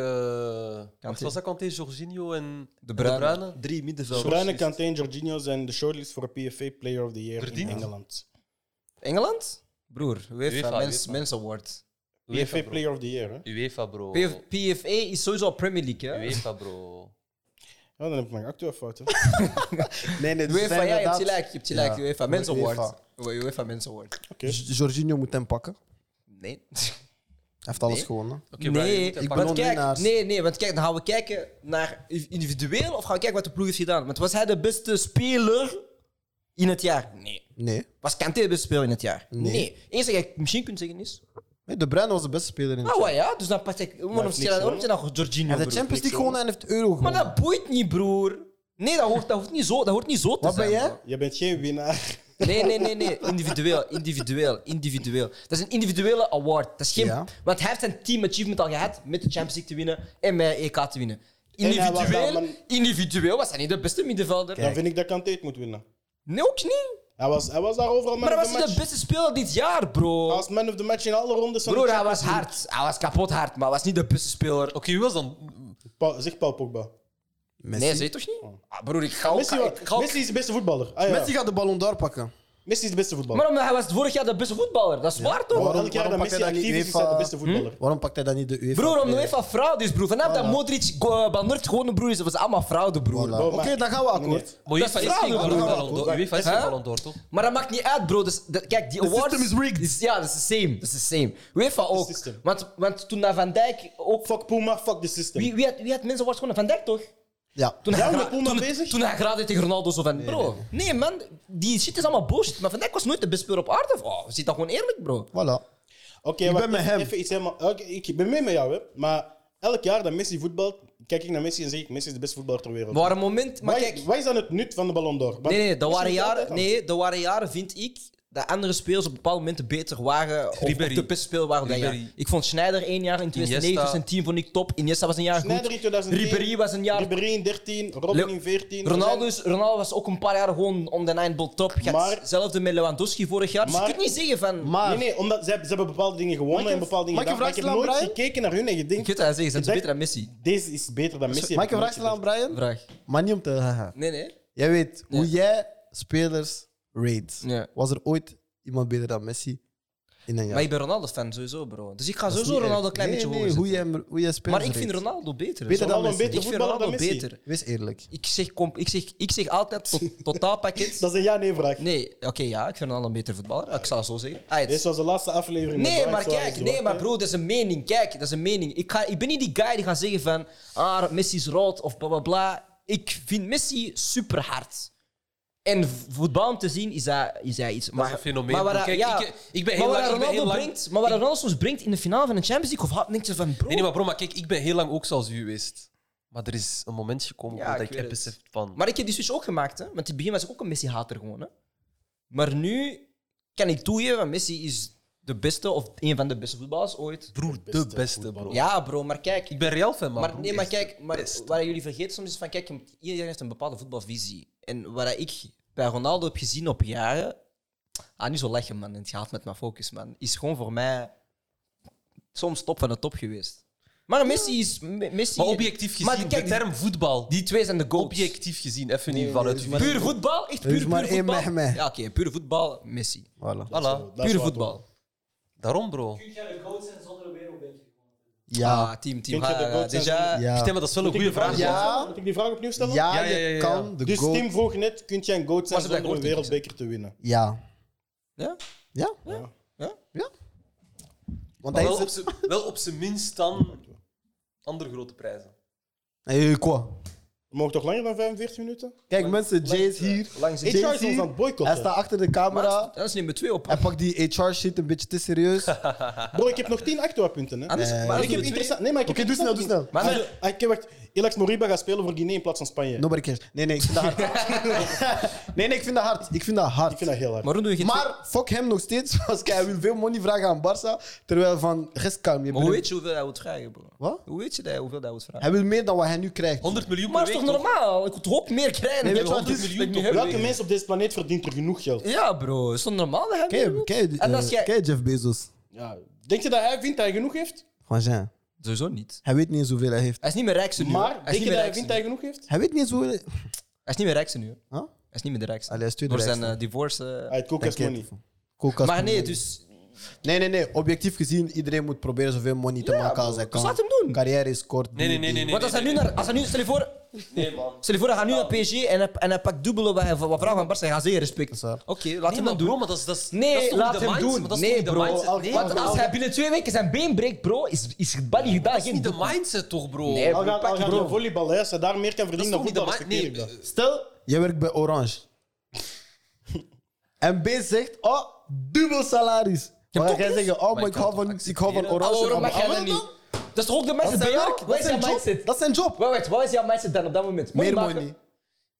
wat was dat Kanté, Jorginho en De en Bruyne. Drie De middenvelders. Bruyne, Kanté en Jorginho zijn de shortlist voor PFA Player of the Year Verdiend. in Engeland. Engeland? Broer, UEFA, UEFA, mens, UEFA. mens Award. PFA UEFA, bro. Player of the Year, hè. UEFA, bro. PF PFA is sowieso al Premier League, hè? Oh. UEFA, bro. Ja, dan heb ik mijn actueel fout, <laughs> hè. Nee, nee, UEFA, ja, je hebt gelijk, je hebt gelijk. Ja, UEFA Mens UEFA. Award. UEFA Mens Award. Oké. Jorginho moet hem pakken. Hij Nee. heeft alles Nee. gewonnen. Oké, Brian, je nee, moet hem ik pakken. ben want kijk, onwinnaars. nee, nee, want kijk, dan gaan we kijken naar individueel of gaan we kijken wat de ploeg heeft gedaan. Want was hij de beste speler in het jaar? Nee. Nee. Was Kante de beste speler in het jaar? Nee. Nee. Eens dat je misschien kunt zeggen is. Nee, De Bruyne was de beste speler in het Ah, jaar. wa, ja, dus dan pas ik. Waarom heeft stel niks je dan Jorginho? Hij heeft broer? de Champions niks League gewonnen en heeft de Euro Maar gewonnen. dat boeit niet, broer. Nee, dat hoort, dat hoort, niet, zo, dat hoort niet zo te Wat zijn. ben jij? bro. Je bent geen winnaar. Nee, nee, nee, nee. Individueel, individueel, individueel. Dat is een individuele award. Dat is geen, Ja. Want hij heeft zijn team achievement al gehad met de Champions League te winnen en met EK te winnen. En hij was Individueel, daar, man. individueel was hij niet de beste middenvelder. Dan vind ik dat Kanté het moet winnen. Nee, ook niet. Hij was, hij was daar overal man Maar hij of the was niet de match. beste speler dit jaar, Hij bro. was man of the match in alle rondes. van de Broer, hij was Champions hard. Hij was kapot hard, maar hij was niet de beste speler. Oké, wie was dan? League. Paul- zeg Paul Pogba. Messi. Oh. Nee, zei toch niet? Ah, broer, ik ga ook... Messi, ik ga ook- Messi is de beste voetballer. Ah, ja. Messi Messi... gaat de Ballon d'Or pakken. is de beste voetballer. Maar omdat hij was vorig jaar de beste voetballer. Dat is waar, toch? Maar waarom- elk jaar waarom dat pakt hij Messi dan niet actief is, is UEFA? hij de beste voetballer. Waarom pakt hij dan niet de UEFA? Broer, om Nee. de even fraude is, broer. Vanaf dat Modric go- eh, Bandert gewoon een broer is, dat was allemaal fraude, broer. Voilà. Oké, maar- dan gaan we akkoord. Nee. Maar UEFA is Frank, geen broer. Ballon d'Or. UEFA is geen Huh? Ballon d'Or, toch? Maar dat maakt niet uit, bro. Dus, dat- kijk, die awards... system is rigged. is- ja, dat is the same. Dat is the same. UEFA ook. system. Want, want toen naar Van Dijk ook... Fuck Puma, fuck the system. Wie, wie, had, wie had mensen awards gewonnen? Van Dijk, toch? Ja. Toen Zijn we gra- met Poelman toen, bezig? toen hij graden tegen Ronaldo zo van... bro, nee, man. Die shit is allemaal bullshit. Maar Van Dijk was nooit de beste speler op aarde. Oh, zit dat gewoon eerlijk, bro. Voilà. Oké, Ik wacht, ben met even- hem. Even iets helemaal, Oké, ik ben mee met jou, hè. Maar elk jaar dat Messi voetbalt, kijk ik naar Messi en zeg ik, Messi is de beste voetballer ter wereld. Maar een moment... Maar Wat- kijk... Wat is dan het nut van de Ballon d'Or? Want Nee, nee, dat Messi waren is altijd jaren, aan. nee, dat waren jaren, vind ik, dat andere spelers op bepaalde momenten beter waren. Of, of Ribéry. de beste speler waren dan Ribéry. Ik vond Schneider één jaar in 2009, Iniesta. zijn team vond ik top. Iniesta was een jaar Sneijder in goed. 2010. Ribéry was een jaar... Ribéry in 13, Robin Le- in 14. Ronaldo, is- Ronaldo was ook een paar jaar gewoon on the nine ball top. Je had Maar- Hetzelfde met Lewandowski vorig jaar. Dus Maar- je kunt niet zeggen van... Maar Nee, nee, omdat ze, hebben- ze hebben bepaalde dingen gewonnen Mag ik- en bepaalde dingen mag ik gedaan. een Maar ik heb vraag nooit stellen, gekeken naar hun en ik gedacht, weet dat hij zegt, zijn ze Ik beter dan Messi? deze is beter dan Messi. Mag ik een Heb vraag ik nooit stellen aan Brian? Vraag. Maar niet om te <laughs> haha. Nee, nee. Jij weet Ja. hoe jij spelers raidt. Ja. Was er ooit iemand beter dan Messi? in een jaar. Maar ik ben Ronaldo-fan sowieso, bro. Dus ik ga Dat is sowieso niet erg. Ronaldo een klein nee, beetje nee, hoger hoe zetten. je, hoe je speelt. Maar ik vind Ronaldo beter. Beter zo. dan Ronaldo een Messi. betere Ik vind voetballer dan Ronaldo Messi. beter. Wees eerlijk. Ik zeg, comp- ik zeg, ik zeg altijd tot, totaalpakket. Dat is een ja-nee-vraag. Nee, oké, ja, ik vind Ronaldo een betere voetballer. Ik zou het zo zeggen. Ah, het- Dit was de laatste aflevering. Nee, Brian maar Suarez kijk, Duarte. nee, maar bro, dat is een mening. Kijk, dat is een mening. Ik, ga, ik ben niet die guy die gaat zeggen van, ah, Messi is rood of bla bla bla. Ik vind Messi super hard. En voetbal om te zien is dat, is dat iets. is een fenomeen, Maar bro. waar, Kijk, ja, ik- ik ben heel maar waar lang- ik ben Ronaldo heel lang- brengt, maar waar Ronaldo soms brengt in de finale van de Champions League, of hard, denk je van, bro. Nee, nee, maar bro, maar kijk, ik ben heel lang ook zoals u geweest. Maar er is een moment gekomen Ja, dat ik ik, weet heb het. beseft van... Maar ik heb die switch ook gemaakt, hè? Want in het begin was ik ook een Messi-hater gewoon. Hè? Maar nu kan ik toegeven, want Messi is de beste of een van de beste voetballers ooit. broer, de beste beste, voetballer. bro. Ja, bro, maar kijk, Ik ben Real-fan, maar, Maar, broer, nee, maar echt de kijk, maar beste. waar jullie vergeten soms is van kijk, iedereen heeft een bepaalde voetbalvisie. En wat ik bij Ronaldo heb gezien op jaren, ah, niet zo lachen man, het gaat met mijn focus man, is gewoon voor mij soms top van de top geweest. Maar Messi is Me- Messi. Maar objectief gezien, Maar de, die- kijk, die- term voetbal... die twee zijn de goals. objectief gezien, even niet vanuit uw Puur voetbal, echt Er is puur, maar puur één voetbal. Mehmet. Ja, oké, puur voetbal, Messi. Voilà. Voilà, Dat is Puur waar, voetbal. daarom, bro. Kun jij een coach zijn zonder een wereldbeker? Ja. Ah, team, team. Vind je de Ah, goat zijn déjà- Ja. Stem, maar dat is wel een Moet ik goede die vraag. Ja. stellen? Moet ik die vraag opnieuw stellen? Ja, Ja, ja, ja, je ja. kan de Dus goal. Tim vroeg net, kun jij een goat zijn Maar ze hebben zonder een dat gehoord, wereldbeker te winnen? Ja. Ja? Ja? Ja. Ja? Ja. Want hij Wel op is... z'n- Wel op zijn minst dan andere grote prijzen. Hey, quoi? We mogen toch langer dan 45 minuten? Kijk mensen, Jay is hier. Langs Jay HR is is ons aan hier. het boycotten. Hij staat achter de camera. Dat is nummer twee op. Hij pakt die HR shit een beetje te <laughs> serieus. Bro, ik heb nog 10 actua-punten. hè. Anders, Eh, maar ik heb interessant. Nee, maar ik heb Oké, doe snel, doe snel. dus- ah, Maar ik heb wacht. Elex Moriba gaat spelen voor Guinea in plaats van Spanje. Nobody cares. Nee, nee, ik vind dat hard. <laughs> nee, nee, ik vind dat hard. Ik vind dat hard. Ik vind dat heel hard. Maar hoe doe je geen Maar fuck hem nog steeds, <laughs> want hij wil veel money vragen aan Barça. Terwijl van, gest kalm. je Maar hoe bent- weet je hoeveel hij moet vragen, bro? Wat? Hoe weet je dat, hoeveel hij moet vragen? Hij wil meer dan wat hij nu krijgt. 100 miljoen Maar per is week. toch toch? normaal? Ik hoop meer krijgen. Nee, weet je wat het is? 100 miljoen toch? Welke mens op deze planeet verdient er genoeg geld? Ja, bro. Is toch normaal dat hij Ken meer je, wil? ken je, En als eh, jij- ken je Jeff Bezos? Ja. Denk je dat hij vindt dat hij genoeg heeft? Van Jean. Sowieso niet. Hij weet niet eens hoeveel hij heeft. Hij is niet meer rijkste nu. hoor. Maar hij is denk niet je meer dat hij rijkste vindt nu. dat Hij hij genoeg heeft? Hij weet niet eens hoeveel hij... is niet meer rijkste nu. hoor. Huh? Hij is niet meer de rijkste. Allee, hij is tweede Door zijn rijkste. eh, divorce. eh. Hij heeft Denk money. je? Koelkast maar nee, money. dus... Nee, nee, nee. Objectief gezien, iedereen moet proberen zoveel money te maken als hij Dus kan. laat hem doen. Carrière is kort. Nee, nee, nee, nee. nee Want als hij nee, nu naar... Als hij nu, stel je voor... Nee, man. Stel je voor, hij gaat nu naar PSG en hij, en hij pakt dubbele wat, hij- wat vrouwen van Barca. Hij gaat zeer respect. is waar. Oké, laat Nee, hem maar dat doen. bro, maar dat is... Dat is Nee, dat is toch laat niet de hem mindset, doen. maar dat is Nee, toch niet bro. de mindset? Nee, Want als hij binnen twee weken zijn been breekt, bro, is, is het bal niet gedaan. dat is niet de mindset, toch, bro? Nee, Al gaat, al gaat Bro. naar volleybal, hè. als hij daar meer kan Dat is toch verdienen dan niet de voetbal, mindset? respecteer ik dat. Nee, Stel, jij werkt bij Orange. <laughs> En B zegt, oh, dubbel salaris. Ja, Maar toch jij eens? zeggen, oh, Maar maar je ik kan hou toch van, ik hou van accepteren? Orange. Waarom mag en jij Abba- dat niet? Dat is toch ook de Dat is mindset zijn bij jou? werk, Wat dat nou? is is zijn jouw job. mindset? Dat is zijn job. Wacht, wacht, wat is jouw mindset dan op dat moment? Meer maken? money.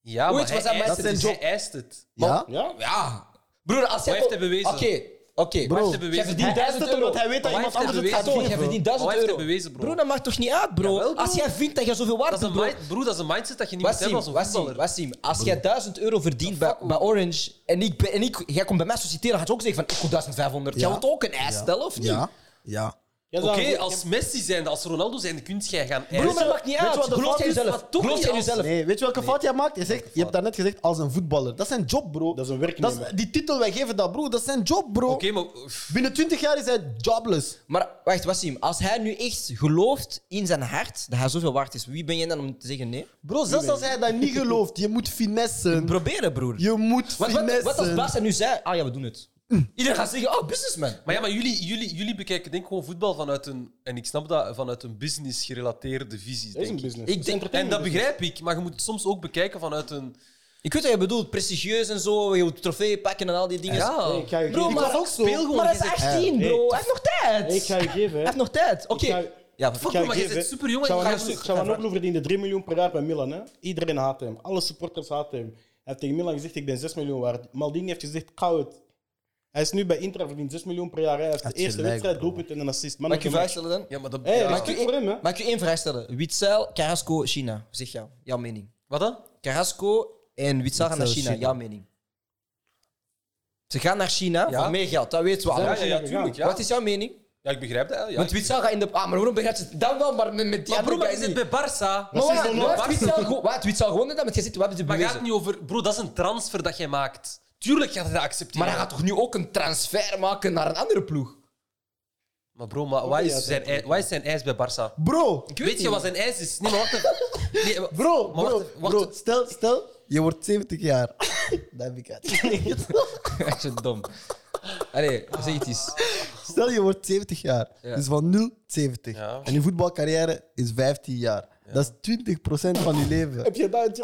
Ja, maar Ooit was hij hij eist mindset het. zijn Hij eist het. Ja? Ja? Ja. Broer, als jij... Wat heeft hij bewezen? Oké, oké. Bro. Hij Maar heeft het Jij bewezen. verdient Hij eist 1000 het euro. omdat hij weet dat Maar iemand hij heeft anders het het gaat bewezen. Sorry, jij doen. verdient 1000 Maar hij heeft euro. het bewezen, bro. Broer, dat maakt toch niet uit, bro? Jawel, bro. Als jij vindt dat jij zoveel waard Dat is bent, een bro. mind- Broer, dat is een mindset dat je niet moet Wassim, hebben als een Wassim, voetballer. Wassim, als jij 1000 euro verdient bij, bij Orange en, ik, ben- en ik, jij komt bij mij solliciteren, dan gaat je ook zeggen van ik wil 1500. Jij Ja. wilt ook een eis stellen, of niet? Ja? Ja. Jij Oké, zou- als Messi zijnde, als Ronaldo zijnde, kun jij gaan eisen. Broer, maar dat maakt niet Weet je uit. wat de Geloof fout jij is? jezelf. Maar toch Geloof niet jij als- jezelf. Nee, weet je welke fout jij maakt? Je, zegt, je hebt daarnet gezegd als een voetballer. Dat is zijn job, bro. Dat is een Dat werknemer. is- die titel, wij geven dat, bro. Dat is zijn job, bro. Oké, maar... pff, Binnen 20 jaar is hij jobless. Maar wacht, Wassim, als hij nu echt gelooft in zijn hart dat hij zoveel waard is, wie ben je dan om te zeggen nee? Bro, zelfs als hij dat niet gelooft, je moet finessen. Proberen, broer. Je moet Wat, wat, finessen. wat als Bas nu zei, ah ja, we doen het. Iedereen gaat zeggen, oh, businessman. Maar ja, maar jullie, jullie, jullie bekijken denk ik gewoon voetbal vanuit een... En ik snap dat, vanuit een business-gerelateerde visie, Dat is denk een ik. business. Ik denk, En dat begrijp ik, maar je moet het soms ook bekijken vanuit een... ik weet wat je bedoelt, prestigieus en zo, je moet trofee pakken en al die dingen. Ja. Nee, ik ga je Bro, geven. maar, was ook zo. speel gewoon. maar hij is Je zegt, 18, hey, bro. Hij heeft nog tijd. Ik ga je geven, hè. Hij heeft nog tijd. Oké. Ik ga- Ja, Fuck, ga je maar je geven. bent super jong en je gaat... Chavanoglu- Chavanoglu verdiende 3 miljoen per jaar bij Milan. Hè? Iedereen haat hem. Alle supporters haten hem. Hij heeft tegen Milan gezegd, ik ben 6 miljoen waard. Maldini heeft gezegd, koud. Hij is nu bij Inter, hij verdient 6 miljoen per jaar. Hij heeft de Had eerste gelijk, wedstrijd, bro. doelpunt en een assist. Man Mag ik je of een the vraag match. stellen dan? Ja, maar dat... Hey, ja. respect voor <laughs> hem, hè. Mag ik je één vraag stellen? Witzel, Carrasco, China. Zeg jou. Jouw mening. Wat dan? Carrasco en Witzel gaan naar Witzel, China. China. Jouw mening. Ze gaan naar China Ja. voor meer geld. Dat weten Ja, we allemaal. ja, ja, tuurlijk, ja. Wat is jouw mening? Ja, ik begrijp dat. Ja, Want ik- Witzel gaat in de... Ah, maar waarom begrijp je het? Dan wel, maar met, met die Maar broer, andere maar guy je zit niet. bij Barça. Maar Precies, wat? dan Wat? Witzel gewoon- Wat? Witzel gewoon dat met gezeten? Wat heb je Maar gaat bewezen? het niet over... Bro, dat is een transfer dat jij maakt. Tuurlijk gaat hij dat accepteren. Maar hij gaat toch nu ook een transfer maken naar een andere <laughs> ploeg? Maar bro, maar wat ja, is, zijn, ei- wat is zijn eis bij Barça? Bro, Weet, je wat zijn eis is? Nee, maar wacht even. Nee, maar- bro, maar bro, wacht, wacht, bro. Stel, stel, je wordt 70 <laughs> jaar. Dat heb ik uit. Echt zo dom. Allee, zeg het eens. Stel, je wordt 70 jaar. Ja. Dus van 0 70. Ja. En je voetbalcarrière is 15 jaar. Dat is 20% van je <laughs> leven. Heb je dat?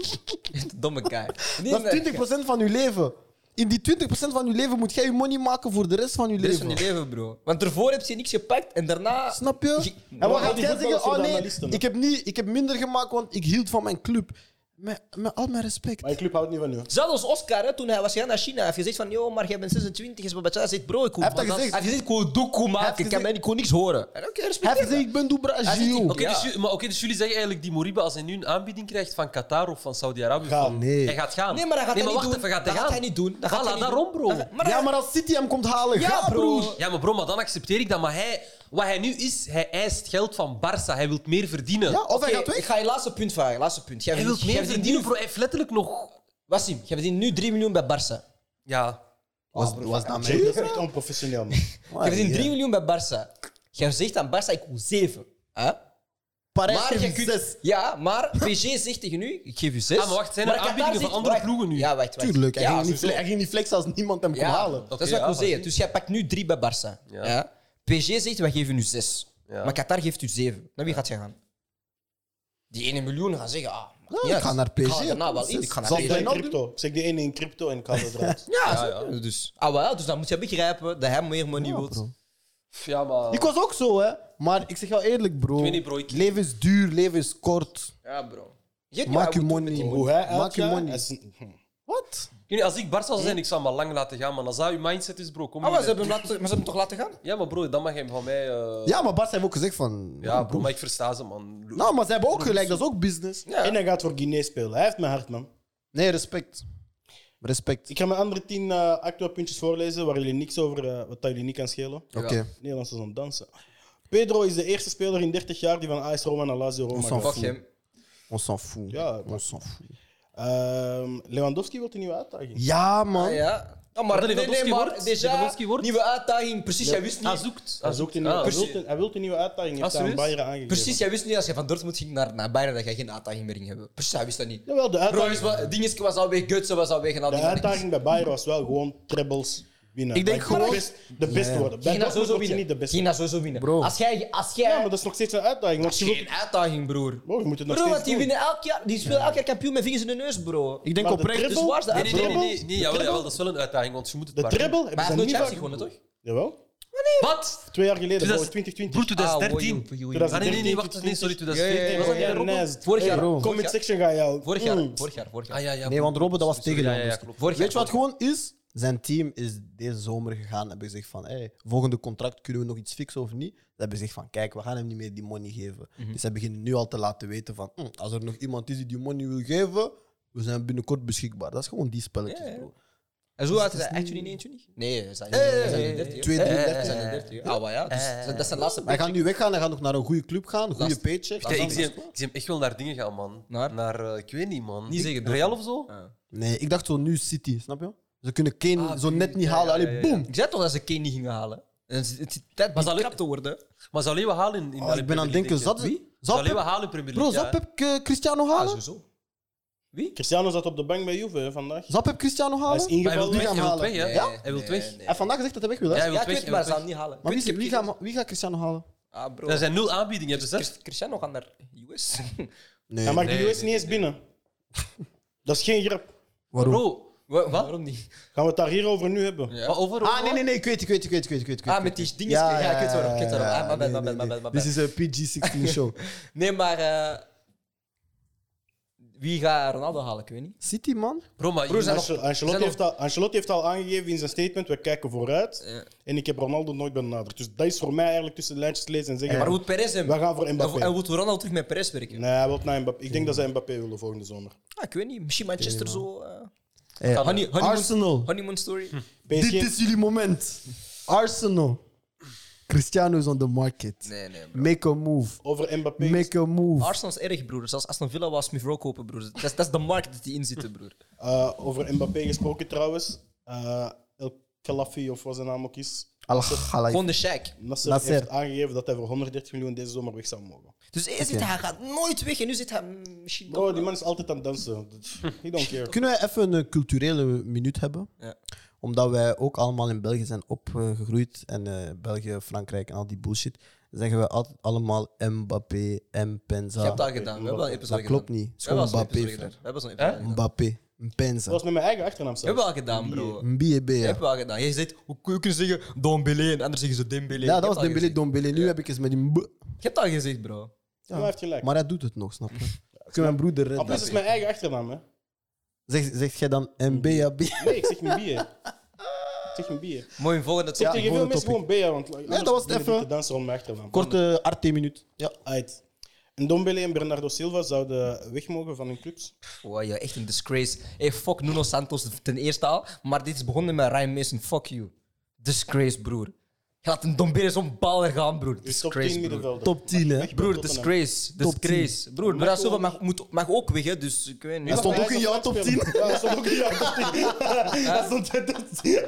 <laughs> Domme guy. Nee, Dat maar- is 20% van je leven. In die 20% van je leven moet jij je money maken voor de rest van je De rest van leven. je leven, bro. Want daarvoor heb je niks gepakt en daarna... Snap je? En Maar wat al gaat die jij voetballers zeggen? Oh worden nee, analisten, hè? ik heb, niet, ik heb minder gemaakt, want ik hield van mijn club. Met, met al mijn respect. Mijn club houdt niet van u. Zelfs als Oscar, hè, toen hij was gegaan naar China, heeft gezegd van, joh, maar jij bent 26, is wat bij China." Hij zegt, bro, ik wil... Hij heeft dat maar gezegd. Hij heeft gezegd, ik wil doekoe maken, ik, gezegd- kan mij, ik wil niks horen. En oké, Hij respecteer heeft gezegd, ik ben door Brazil. Oké, dus, ju- maar oké, dus jullie zeggen eigenlijk die Moriba, als hij nu een aanbieding krijgt van Qatar of van Saudi-Arabië, Ga. van- Oh, Nee. hij gaat gaan. dat. Nee, maar dat gaat hij niet wacht doen. even, gaat hij dat gaan. gaat hij niet doen. Dat Voilà, gaat hij niet daarom, doen. bro. Dat- Maar Ja, hij- maar als City hem komt halen, Ja, ga, bro. broer. Ja, maar bro, maar dan accepteer ik dat. Maar hij, wat hij nu is, hij eist geld van Barça. Hij wil meer verdienen. Ja, of hij Oké, gaat weg. ik ga je laatste punt vragen. Laatste punt. Jij hij wil verdient- jij meer verdient verdienen, nu- bro. Hij heeft letterlijk nog... Wassim, jij verdient nu 3 miljoen bij Barça. Ja, Oh, Was, was dat Jay, dat is echt onprofessioneel, man. <laughs> Man, Jij verdient ja. 3 miljoen bij Barça. Jij zegt aan Barça, ik wil 7. Hè? Parijs Maar heeft je kunt- zes. Ja, maar PSG zegt tegen u, ik geef u 6. Ah, maar wacht, zijn er aanbiedingen van andere ploegen nu? Ja, wacht, wacht. Tuurlijk, hij, ja, ging niet sowieso. fle- hij ging niet flexen als niemand hem kon Ja, halen. Oké, dat is wat ja, ik wil maar zeggen. zie. Dus jij pakt nu 3 bij Barça. Ja. Ja. PSG zegt, wij geven u 6. Ja. Maar Qatar geeft u 7. Naar wie gaat je gaan? Die 1 miljoen gaat zeggen, ah, maakt Ja, niet ik uit. ga naar Ik PSG. ga daarna wel in. Ik ga naar Zal PSG. Ik zeg Wijnaldum? crypto. Ik zeg die ene in crypto en ik haal het <laughs> eruit. Ja, Ja, zo. Dus, ah, wel, dus dan moet je begrijpen dat hij meer money wil. bro. Pff, ja maar... Ik was ook zo, hè. Maar ik zeg jou eerlijk, bro. Ik weet niet, bro, ik- Leven is duur, leven is kort. Ja, bro. Je hebt Maak je niet- money. Hoe hij Maak je uitgaat, money. is een- Wat? Ik weet niet, Als ik Barça zou zijn, ik zou hem maar lang laten gaan. Maar als dat je mindset is, bro, kom Ah, maar hier, ze hè. hebben hem, laten, maar ze hebben hem toch laten gaan? Ja, maar bro, dan mag je hem van mij... eh, Ja, maar Bart heeft ook gezegd van... Ja, bro, maar ik versta ze, man. Nou, maar ze hebben ook gelijk, dat is ook business. En hij gaat voor Guinea spelen. Hij heeft mijn hart, man. Nee, respect. Respect. Ik ga mijn andere tien eh actueel puntjes voorlezen waar jullie niks over, eh, wat dat jullie niet kan schelen. Oké. Nederlanders aan het dansen. Pedro is de eerste speler in 30 jaar die van AS Roma naar Lazio Roma s'en gaat. Fuck hem. On s'en fout. Ja, On s'en fout. Ehm, Lewandowski wil een nieuwe uitdaging. Ja, man. Ah, ja. Ah, maar Wat nee, nee, Lewandowski maar wordt? déjà, Lewandowski wordt? nieuwe uitdaging. Precies, jij wist Hij niet. zoekt. Hij, zoekt een nieuwe, Ah, hij, precies. wil een, hij wil een nieuwe uitdaging. Heeft Ah, hij aan serieus? Bayern aangegeven. Precies, jij wist niet als je van Dortmund ging naar, naar Bayern dat jij geen uitdaging meer ging hebben. Precies, hij wist dat niet. Jawel, de Bro, uitdaging, is wat, dingetje was alweer, Gutsen was alweer en al de die dingen. uitdaging bij Bayern was wel gewoon trebles winnen. Ik denk Maar de gewoon- best- De best worden. Bij Ging dat Dortmund word sowieso je winnen. niet de beste. Ging dat sowieso winnen. Bro. Als jij... Als jij Ja, maar dat is nog steeds een uitdaging. Want je wilt- Geen uitdaging, broer. Bro, je moet het nog Bro, steeds want die doen. winnen elk jaar... Die spelen elk jaar kampioen met vingers in de neus, bro. Ik denk Maar de oprecht... dribbel- Dus waar is de Nee, nee, nee, nee, uitdaging? nee, nee, jawel, jawel, dat is wel een uitdaging, want je moet het De maar dribbel Maar hebben hij ze heeft nooit niet vaak Chelsea gewonnen, toch? Jawel. doen. Wat? Twee jaar geleden, Dus dat bro, is- 2020. Bro, 2013. Ah, oei, oei, oei. Ah, nee, nee, nee, wacht, nee, sorry, 2014. Was dat niet Robben? Vorig jaar. bro. Vorig Comment jaar. section ga je al. Vorig jaar. Mm. Vorig jaar. Vorig jaar. Ah, ja, ja. Nee, want Robben, dat was tegen Ja, ja, ja, Lewandowski. klopt. Vorig Weet je jaar. wat gewoon is? Zijn team is deze zomer gegaan en gezegd van, hey, volgende contract kunnen we nog iets fixen of niet. Ze hebben gezegd van, kijk, we gaan hem niet meer die money geven. Mhm. Dus ze beginnen nu al te laten weten van, hm, als er nog iemand is die die money wil geven, we zijn binnenkort beschikbaar. Dat is gewoon die spelletjes, Ja, ja. bro. En zo uit is hij echt 29? Nee, zijn eh, eh, eh, Twee, eh, eh, zijn er 30. Ah, maar ja. Dus, dat is zijn laatste Hij plek. gaat nu weggaan, hij gaat nog naar een goede club gaan, een goede Last- paycheck. Ja, ik, zie hem, ik zie hem echt wel naar dingen gaan, man. Naar? eh, ik weet niet, man. Niet Ik- zeggen Real of zo? Nee, ik dacht zo nu City, snap je? Ze kunnen Kane Ah, zo net niet ja, halen. ja, ja, Allee, ja. boom! Ik zei toch dat ze Kane niet gingen halen? En Het het is Was tijd was dat al leuk? krap te worden. Maar zou Leeuwen halen in, in Oh, ik ben aan het denken, Zou zat, zou Leeuwen Pep, halen in Premier bro, League? zou ja, Pep eh, Cristiano Ah, halen? sowieso. Cristiano zat op de bank bij Juve hè, vandaag. Zou Pep Cristiano Hij is halen? hè? Hij wil ingevallen. Die weg, gaan hij wil halen. weg, hè? Nee, Ja? Hij wil nee, weg. nee. Hij heeft vandaag gezegd dat hij weg wil, Ja, hè? hij Ja, wil ik weg. weet hij maar ze wil gaan hem weg. niet halen. Maar Ik wie, weet- wie, gaat, wie gaat Cristiano halen? Ah, bro. Er zijn nul aanbiedingen, heb je beseft? Christ- Cristiano gaat naar US. Nee. Hij mag de Nee, US nee, niet eens binnen. Dat is geen grap. waarom? Bro, <laughs> Wa- Waarom niet? Gaan we het daar hier over nu hebben? Ja. wat over? ah, nee, nee, nee, ik weet, ik weet, ik weet, ik weet. Ik weet, ik weet Ah, met die dingen. Ja, Ja, ik weet waarom. Ik weet waarom. ja, Ah, my bad, nee, my bad, nee, my nee. bad, my Dit bad. is een <laughs> PG-16 show. Nee, maar... eh, Wie gaat Ronaldo halen? Ik weet niet. City, man. Bro, maar Broer, jullie- zijn nog- Ancel- Ancelotti, zijn heeft al, Ancelotti heeft al aangegeven in zijn statement, we kijken vooruit. Ja. En ik heb Ronaldo nooit benaderd. Dus dat is voor mij eigenlijk tussen de lijntjes lezen en zeggen... Maar moet Perez hem... We gaan voor En Mbappé. en moet Ronaldo terug met Perez werken? Nee, hij wil naar Mbappé. Ik denk dat zij Mbappé willen volgende zomer. Ah, ik weet niet. Misschien Manchester zo... eh, Hey, honey- honeymoon- Arsenal. Honeymoon story. PSG, Dit is jullie moment. Arsenal. Cristiano is on the market. Nee, nee. bro. Make a move. Over Mbappé. Make a move. Arsenal is erg, broer. Zelfs Aston Villa was Smith Rowe kopen, broer. Dat is, dat is de markt dat die in zitten, broer. Eh, over Mbappé gesproken trouwens. Eh, El Khelafi, of wat zijn naam ook is. Al Khelaifi. Gewoon de shack. Nasser, Nasser. heeft aangegeven dat hij voor 130 miljoen deze zomer weg zou mogen. Dus eerst zit hij, hij gaat nooit weg en nu zit hij mm, misschien Bro, nog- die man is altijd aan het dansen. <laughs> He don't care. Kunnen we even een culturele minuut hebben? Ja. Omdat wij ook allemaal in België zijn opgegroeid. En eh, België, Frankrijk en al die bullshit. Zeggen we altijd allemaal Mbappé, Mpenza. Je hebt dat gedaan. We hebben wel een Dat episode gedaan. klopt niet. Het is We gewoon hebben wel zo'n Mbappé. episode gedaan. vriend. We hebben zo'n Hè? episode gedaan. Mbappé, Dat Mpenza. was met mijn eigen achternaam We hebben zelf. wel gedaan, bro. Mbiebe. Je Ja. hebt wel gedaan. Je zegt, hoe kun je kunnen zeggen Dombele en anderen zeggen ze Ja, Dembele. Je dat hebt was Dembélé, gezegd. Dombele. Nu Ja. heb ik eens met die mb. Je hebt dat gezegd, bro. Ja, hij heeft gelijk. Maar hij doet het nog, snap <laughs> je? Ik kan mijn broeder Al plus redden. is het mijn eigen achternaam, hè. Zeg, zeg jij dan <laughs> MBAB? Nee, ik zeg een bier. Ik zeg een bier. Mooi, een volgende Zeg top. tegen volgende veel mensen gewoon topic. bier, want nee, dat was het even. te dansen rond mijn achternaam. Korte RT-minuut. Ja, uit. En Dombele en Bernardo Silva zouden weg mogen van hun clubs. Wow, ja, echt een disgrace. Hey, fuck Nuno Santos ten eerste al. Maar dit is begonnen met Ryan Mason. Fuck you. Disgrace, broer. Je laat een Dombele zo'n baller gaan, broer. Dus top Disgrace, 10 broer. middenvelder. Top 10, hè? Weg bij Broer, Tottenham. disgrace. Top tien. Disgrace. Broer, Marco- Brasilva mag, moet- mag ook weg, hè, dus ik weet Hij niet. stond hij ook in jouw top uitspelen. Ja, hij stond ook in jouw top 10. Hij <laughs> <laughs> stond in top 10.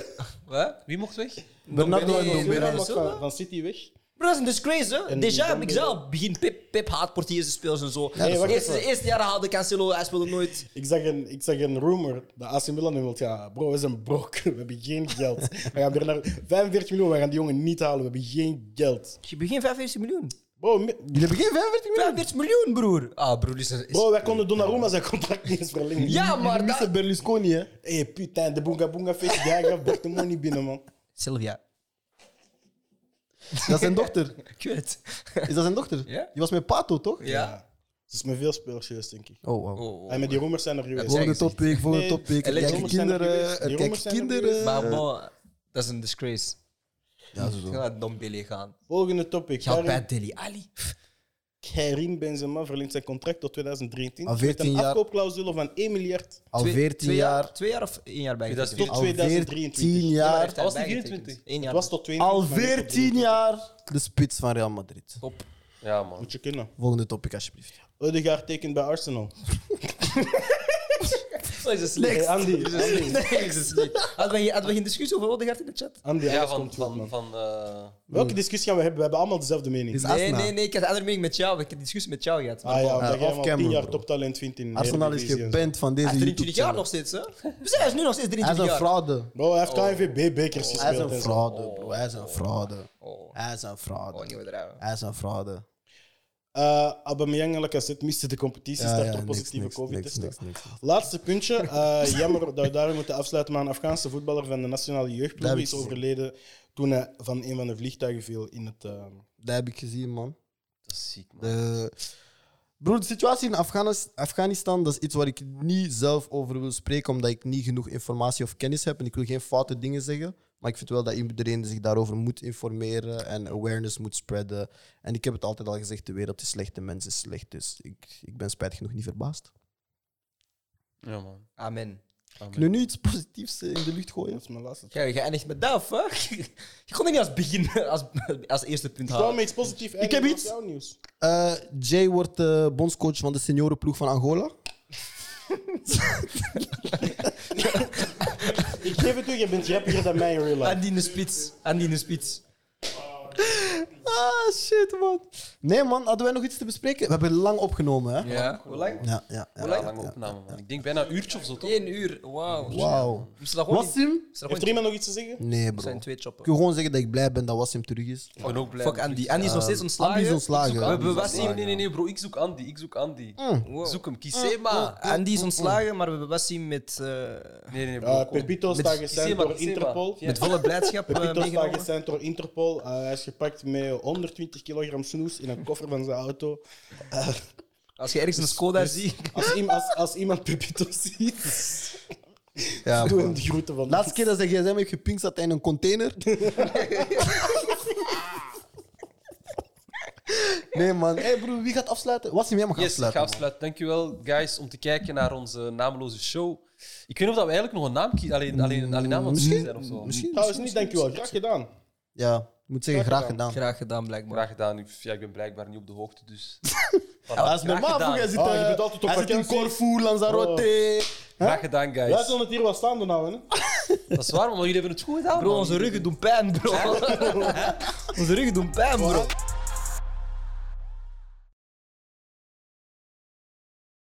Wat? Wie mocht weg? Bernardo en Dombele. Dombele. Silva mag Silva? van- Van City weg. Bro, dat is een disgrace, hè? En Déjà, dan- ik zelf begin Pep, Pep haat portiersspelers en zo. Nee, wacht eerste, even. eerste jaren haalde Cancelo, hij speelde nooit. Ik zag, een, ik zag een rumor dat AC Milan nu wilt. Ja, bro, we zijn brok. We hebben geen geld. We gaan weer naar 45 miljoen. We gaan die jongen niet halen. We hebben geen geld. Je begint 45 miljoen. Bro, mi- Jullie hebben geen 45 miljoen? 45 miljoen, broer. Ah, broer, is, is- bro wij konden Donnarumma zijn contract niet eens verlengen. Ja, maar Jullie dat... missen Berlusconi, hè? Hé, hey, putain, de Boonga Boonga feest. Jij gaf Bartemon niet binnen, man. Sylvia. Dat is zijn dochter. Ik weet het. <laughs> Is dat zijn dochter? Ja. Die was met Pato, toch? Ja? Het is met veel spelers geweest, denk ik. Oh, wow. Oh, oh. En met die rumors zijn er geweest. Volgende topic, volgende Nee, topic. Er Electro- kijken zijn er kinderen, geweest. er Die kijken jongens zijn er kinderen. geweest. Maar bon, dat is een disgrace. Ja, Je zo. gaat naar Dombele gaan. Volgende topic. Je gaat Karim- bij Deli Ali. Karim Benzema verlengt zijn contract tot 2023. Al Met 14 een jaar. afkoopclausule van 1 miljard Al Twee- 14 twee jaar. Twee jaar of één jaar bij. dat is tot Tot Al 14 2023. jaar. was die 24. Eén Het jaar. was tot Al 22. maar niet tot 14 jaar de spits van Real Madrid. Top. Ja, man. Moet je kunnen. Volgende topic, alsjeblieft. Odegaard tekent bij Arsenal. Oh, is dat Hey, slecht? Andy, <laughs> <laughs> Nee, dat is niet. Hadden we, hadden we geen discussie over Odegaard in de chat? Andy, Ja, alles van... komt goed, van, man. van eh, Welke discussie gaan we hebben? We hebben allemaal dezelfde mening. Is Nee, Asna. nee, nee, ik had een andere mening met jou. Ik heb een discussie met jou gehad. ah ja, omdat Eh, jij hem al off-camera, 10 jaar bro. toptalent vindt in Arsenal is Eredivisie en zo. geband van deze Hij is 23 YouTube-channel. jaar nog steeds, hè? We zijn hij is nu nog steeds Hij is 23 een jaar. fraude. Bro, hij heeft KNVB-bekers Oh. Hij is gespeeld. een en zo. fraude, bro. Hij is een fraude. Oh, Hij is een oh, fraude. niet bedrijven. Hij is een fraude. Eh, Aubameyang en Lacazette misten de competitie, Ja, start ja, op niks, positieve niks, niks, covid-testen. niks, niks. Laatste puntje. Eh, <laughs> jammer dat we daarmee moeten afsluiten, maar een Afghaanse voetballer van de nationale Dat jeugdploeg heb ik is gezien. overleden toen hij van een van de vliegtuigen viel in het... eh, Dat heb ik gezien, man. dat is ziek, man. De... Broer, de situatie in Afghanis- Afghanistan dat is iets waar ik niet zelf over wil spreken, omdat ik niet genoeg informatie of kennis heb. En ik wil geen foute dingen zeggen. Maar ik vind wel dat iedereen zich daarover moet informeren en awareness moet spreaden. En ik heb het altijd al gezegd: de wereld is slecht, de mens is slecht. Dus ik, ik ben spijtig genoeg niet verbaasd. Ja, man. Amen. Amen. Kunnen we nu iets positiefs eh, in de lucht gooien? dat is mijn laatste. Ja, je eindigt met dat, hè? <laughs> Je kon het niet als begin, als, als eerste punt Ik wou halen. met iets positiefs Ah. heb eindigen, iets. wat is jouw nieuws? Eh, Jay wordt eh, bondscoach van de seniorenploeg van Angola. Ik geef het toe, je bent jappier dan mij in real life. Andy in de spits. Andy in de spits. Ah, shit, man. Nee, man, hadden wij nog iets te bespreken? We hebben lang opgenomen, hè? Ja. Hoe lang? Ja, ja, ja. Ja, lange opname, man. Ik denk bijna een uurtje of zo, toch? Eén uur. Wauw. Wauw. Moest je dat gewoon niet... Wassim? moest je dat Heeft gewoon er iemand nog iets te zeggen? Nee, niet- bro. zijn Ik twee choppen. wil gewoon zeggen dat ik blij ben dat Wassim terug is. Ik ben ook blij. Fuck Andy. Andy is nog steeds ontslagen. Andy is ontslagen. Ik We zoek Andy. hebben Was Wassim- hij- Nee, nee, nee, bro. Ik zoek Andy. Ik zoek Andy. Mm. Wow. Zoek hem. Kisema. Andy is ontslagen, maar we hebben Wassim met, eh, Nee, nee, bro. Eh kom. Pepito staat gesend Kisema, door Kisema. Interpol. Ja. <laughs> met volle <laughs> blijdschap eh, Pepito staat meegenomen. gesend door Interpol. Eh, hij is gepakt met 120 kilogram snoes in een koffer van zijn auto. Als je ergens een Skoda ziet... Als, iem- als, als iemand Pepito ziet, Ja, doe bro. hem de groeten van Laatste keer dat zijn gsm heeft gepinkt zat hij in een container. nee, man. Hé, hey, broer, wie gaat afsluiten? Wassim, jij mag Yes, ik ga afsluiten. man. afsluiten. Dankjewel, guys, om te kijken naar onze nameloze show. Ik weet niet of dat we eigenlijk nog een naam kiezen. Alleen, alleen, alleen naam aan het Misschien. kiezen zijn of zo. Misschien. Trouwens, niet dankjewel. Graag gedaan. Ja, moet zeggen, graag gedaan. Graag gedaan, blijkbaar. Graag gedaan. Ik, ja, ik ben blijkbaar niet op de hoogte, <laughs> dus... Dat is normaal, gedaan. vroeger, hij zit, Oh, je eh, bent altijd op hij zit in vakantie. Oh. Corfu, Lanzarote. Graag gedaan, Wij guys. zullen het hier wel staande houden. Hè? Dat is waar, maar jullie hebben het goed gedaan, Bro, man. <laughs> onze ruggen doen pijn, bro. onze ruggen doen pijn, bro.